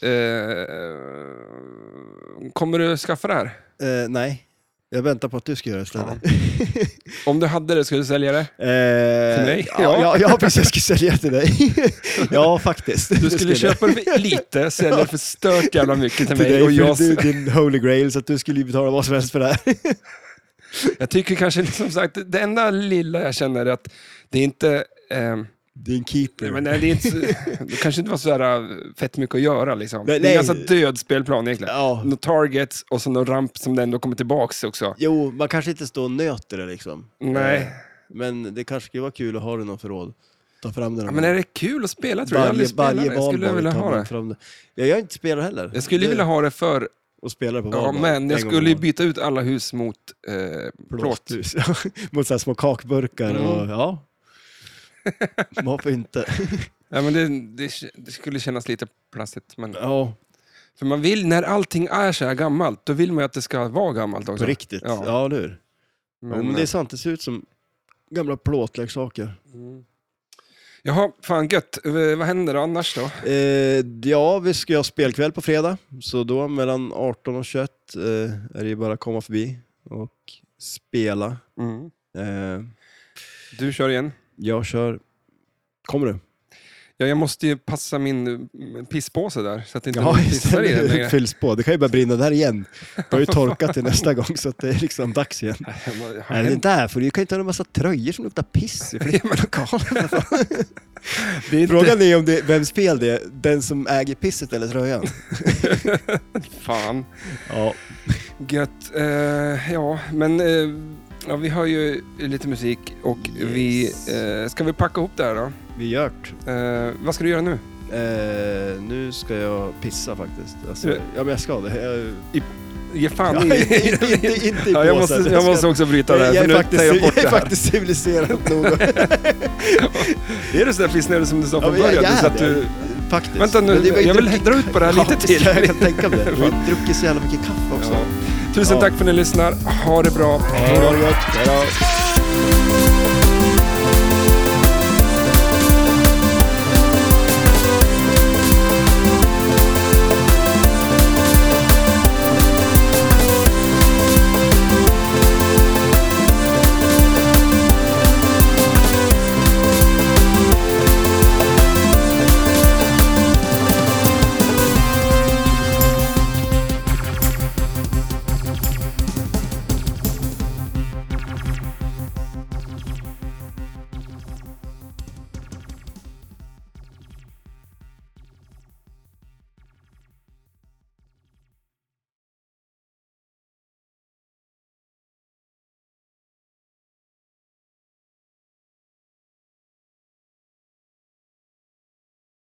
S2: Eh, kommer du skaffa det här?
S1: Eh, nej, jag väntar på att du ska göra det istället.
S2: Om du hade det, skulle du sälja det?
S1: För
S2: mig?
S1: Eh, Ja, ja, ja, precis. Jag skulle sälja till dig. ja, faktiskt.
S2: Du skulle köpa det för lite, sälja det för stört jävla mycket till
S1: till
S2: mig.
S1: dig,
S2: och jag,
S1: för du, din holy grail, så att du skulle ju betala vad som helst för det här.
S2: jag tycker kanske, som sagt, det enda lilla jag känner är att det är inte... ehm,
S1: Din keeper.
S2: nej, men nej, det, är inte så, det kanske inte var så där äh, fett mycket att göra. Liksom.
S1: Nej,
S2: det är en
S1: nej.
S2: ganska död spelplan egentligen.
S1: Ja.
S2: Några targets och så någon ramp som den ändå kommer tillbaks också.
S1: Jo, man kanske inte står och nöter det liksom.
S2: Nej.
S1: Eh, Men det kanske skulle vara kul att ha det i någon förråd. Ta fram det.
S2: Ja,
S1: någon
S2: men
S1: gång.
S2: är det kul att spela tror jag. jag.
S1: varje,
S2: Varje,
S1: varje
S2: jag skulle
S1: valborg
S2: vilja
S1: tar
S2: ha
S1: man
S2: det.
S1: Fram det. Ja, jag är inte spelare heller.
S2: Jag skulle
S1: Det-
S2: vilja ha det för...
S1: Och spela på
S2: Ja,
S1: valborg.
S2: men jag
S1: en gång
S2: skulle ju
S1: om
S2: byta ut alla hus mot eh,
S1: året.
S2: plåt.
S1: Blåsthus. Mot så här små kakburkar
S2: Mm.
S1: och ja. Varför inte?
S2: Ja, men det, det, det skulle kännas lite plastigt. Men,
S1: Ja,
S2: för man vill, när allting är så här gammalt, då vill man ju att det ska vara gammalt också.
S1: på riktigt.
S2: Ja.
S1: Ja, ja nu. Men, eh, men det är sant, det ser ut som gamla plåtleksaker.
S2: Mm. Jaha, fan gött. Eh, Vad händer då annars då?
S1: Eh, ja, vi ska ju ha spelkväll på fredag, så då mellan 18 och 21 eh, är det ju bara att komma förbi och spela. Eh,
S2: Du kör igen.
S1: jag kör... Kommer du?
S2: Ja, jag måste ju passa min mm, pisspåse där, så att inte
S1: Ja,
S2: någon
S1: just
S2: pissar i den
S1: det.
S2: längre.
S1: Fylls på. Det kan ju börja brinna där igen. Det har ju torkat till nästa gång, så att det är liksom dags igen.
S2: Vad har
S1: Nej, det är
S2: hänt?
S1: inte här, för du kan ju inte ha en massa tröjor som luktar piss i flera lokaler.
S2: Det är inte-
S1: Frågan är om det, vems fel det är. Den som äger pisset eller tröjan?
S2: Fan.
S1: Ja.
S2: Gött. Eh, ja, men eh, ja, vi har ju lite musik och vi...
S1: Yes.
S2: Eh, ska vi packa ihop det här då?
S1: Vi gjort.
S2: Eh, vad ska du göra nu?
S1: Eh, nu ska jag pissa faktiskt. Alltså,
S2: Du-
S1: ja, men jag ska det. Jag,
S2: Ge fan
S1: Ja,
S2: i...
S1: inte- inte- inte i
S2: ja,
S1: påsen.
S2: jag, måste, jag
S1: Jag ska-
S2: måste också bryta
S1: jag,
S2: det här,
S1: jag,
S2: för
S1: är,
S2: nu
S1: faktiskt,
S2: tar jag bort
S1: jag är
S2: det här.
S1: faktiskt civiliserad nog.
S2: Är du sådär pissnödig som du sa
S1: Ja,
S2: från
S1: men jag,
S2: början?
S1: jag
S2: så
S1: är
S2: att du,
S1: det. Faktiskt.
S2: Vänta nu,
S1: Men det var ju
S2: jag vill
S1: druckit-
S2: dra ut på det här
S1: Ja,
S2: lite
S1: precis,
S2: till.
S1: Jag kan tänka mig det. Vi
S2: Ja.
S1: har druckit så jävla mycket kaffe också.
S2: ja. Tusen
S1: Ja.
S2: tack för att ni lyssnar. Ha det bra. Hej
S1: Ha
S2: då.
S1: det gott. Hej då.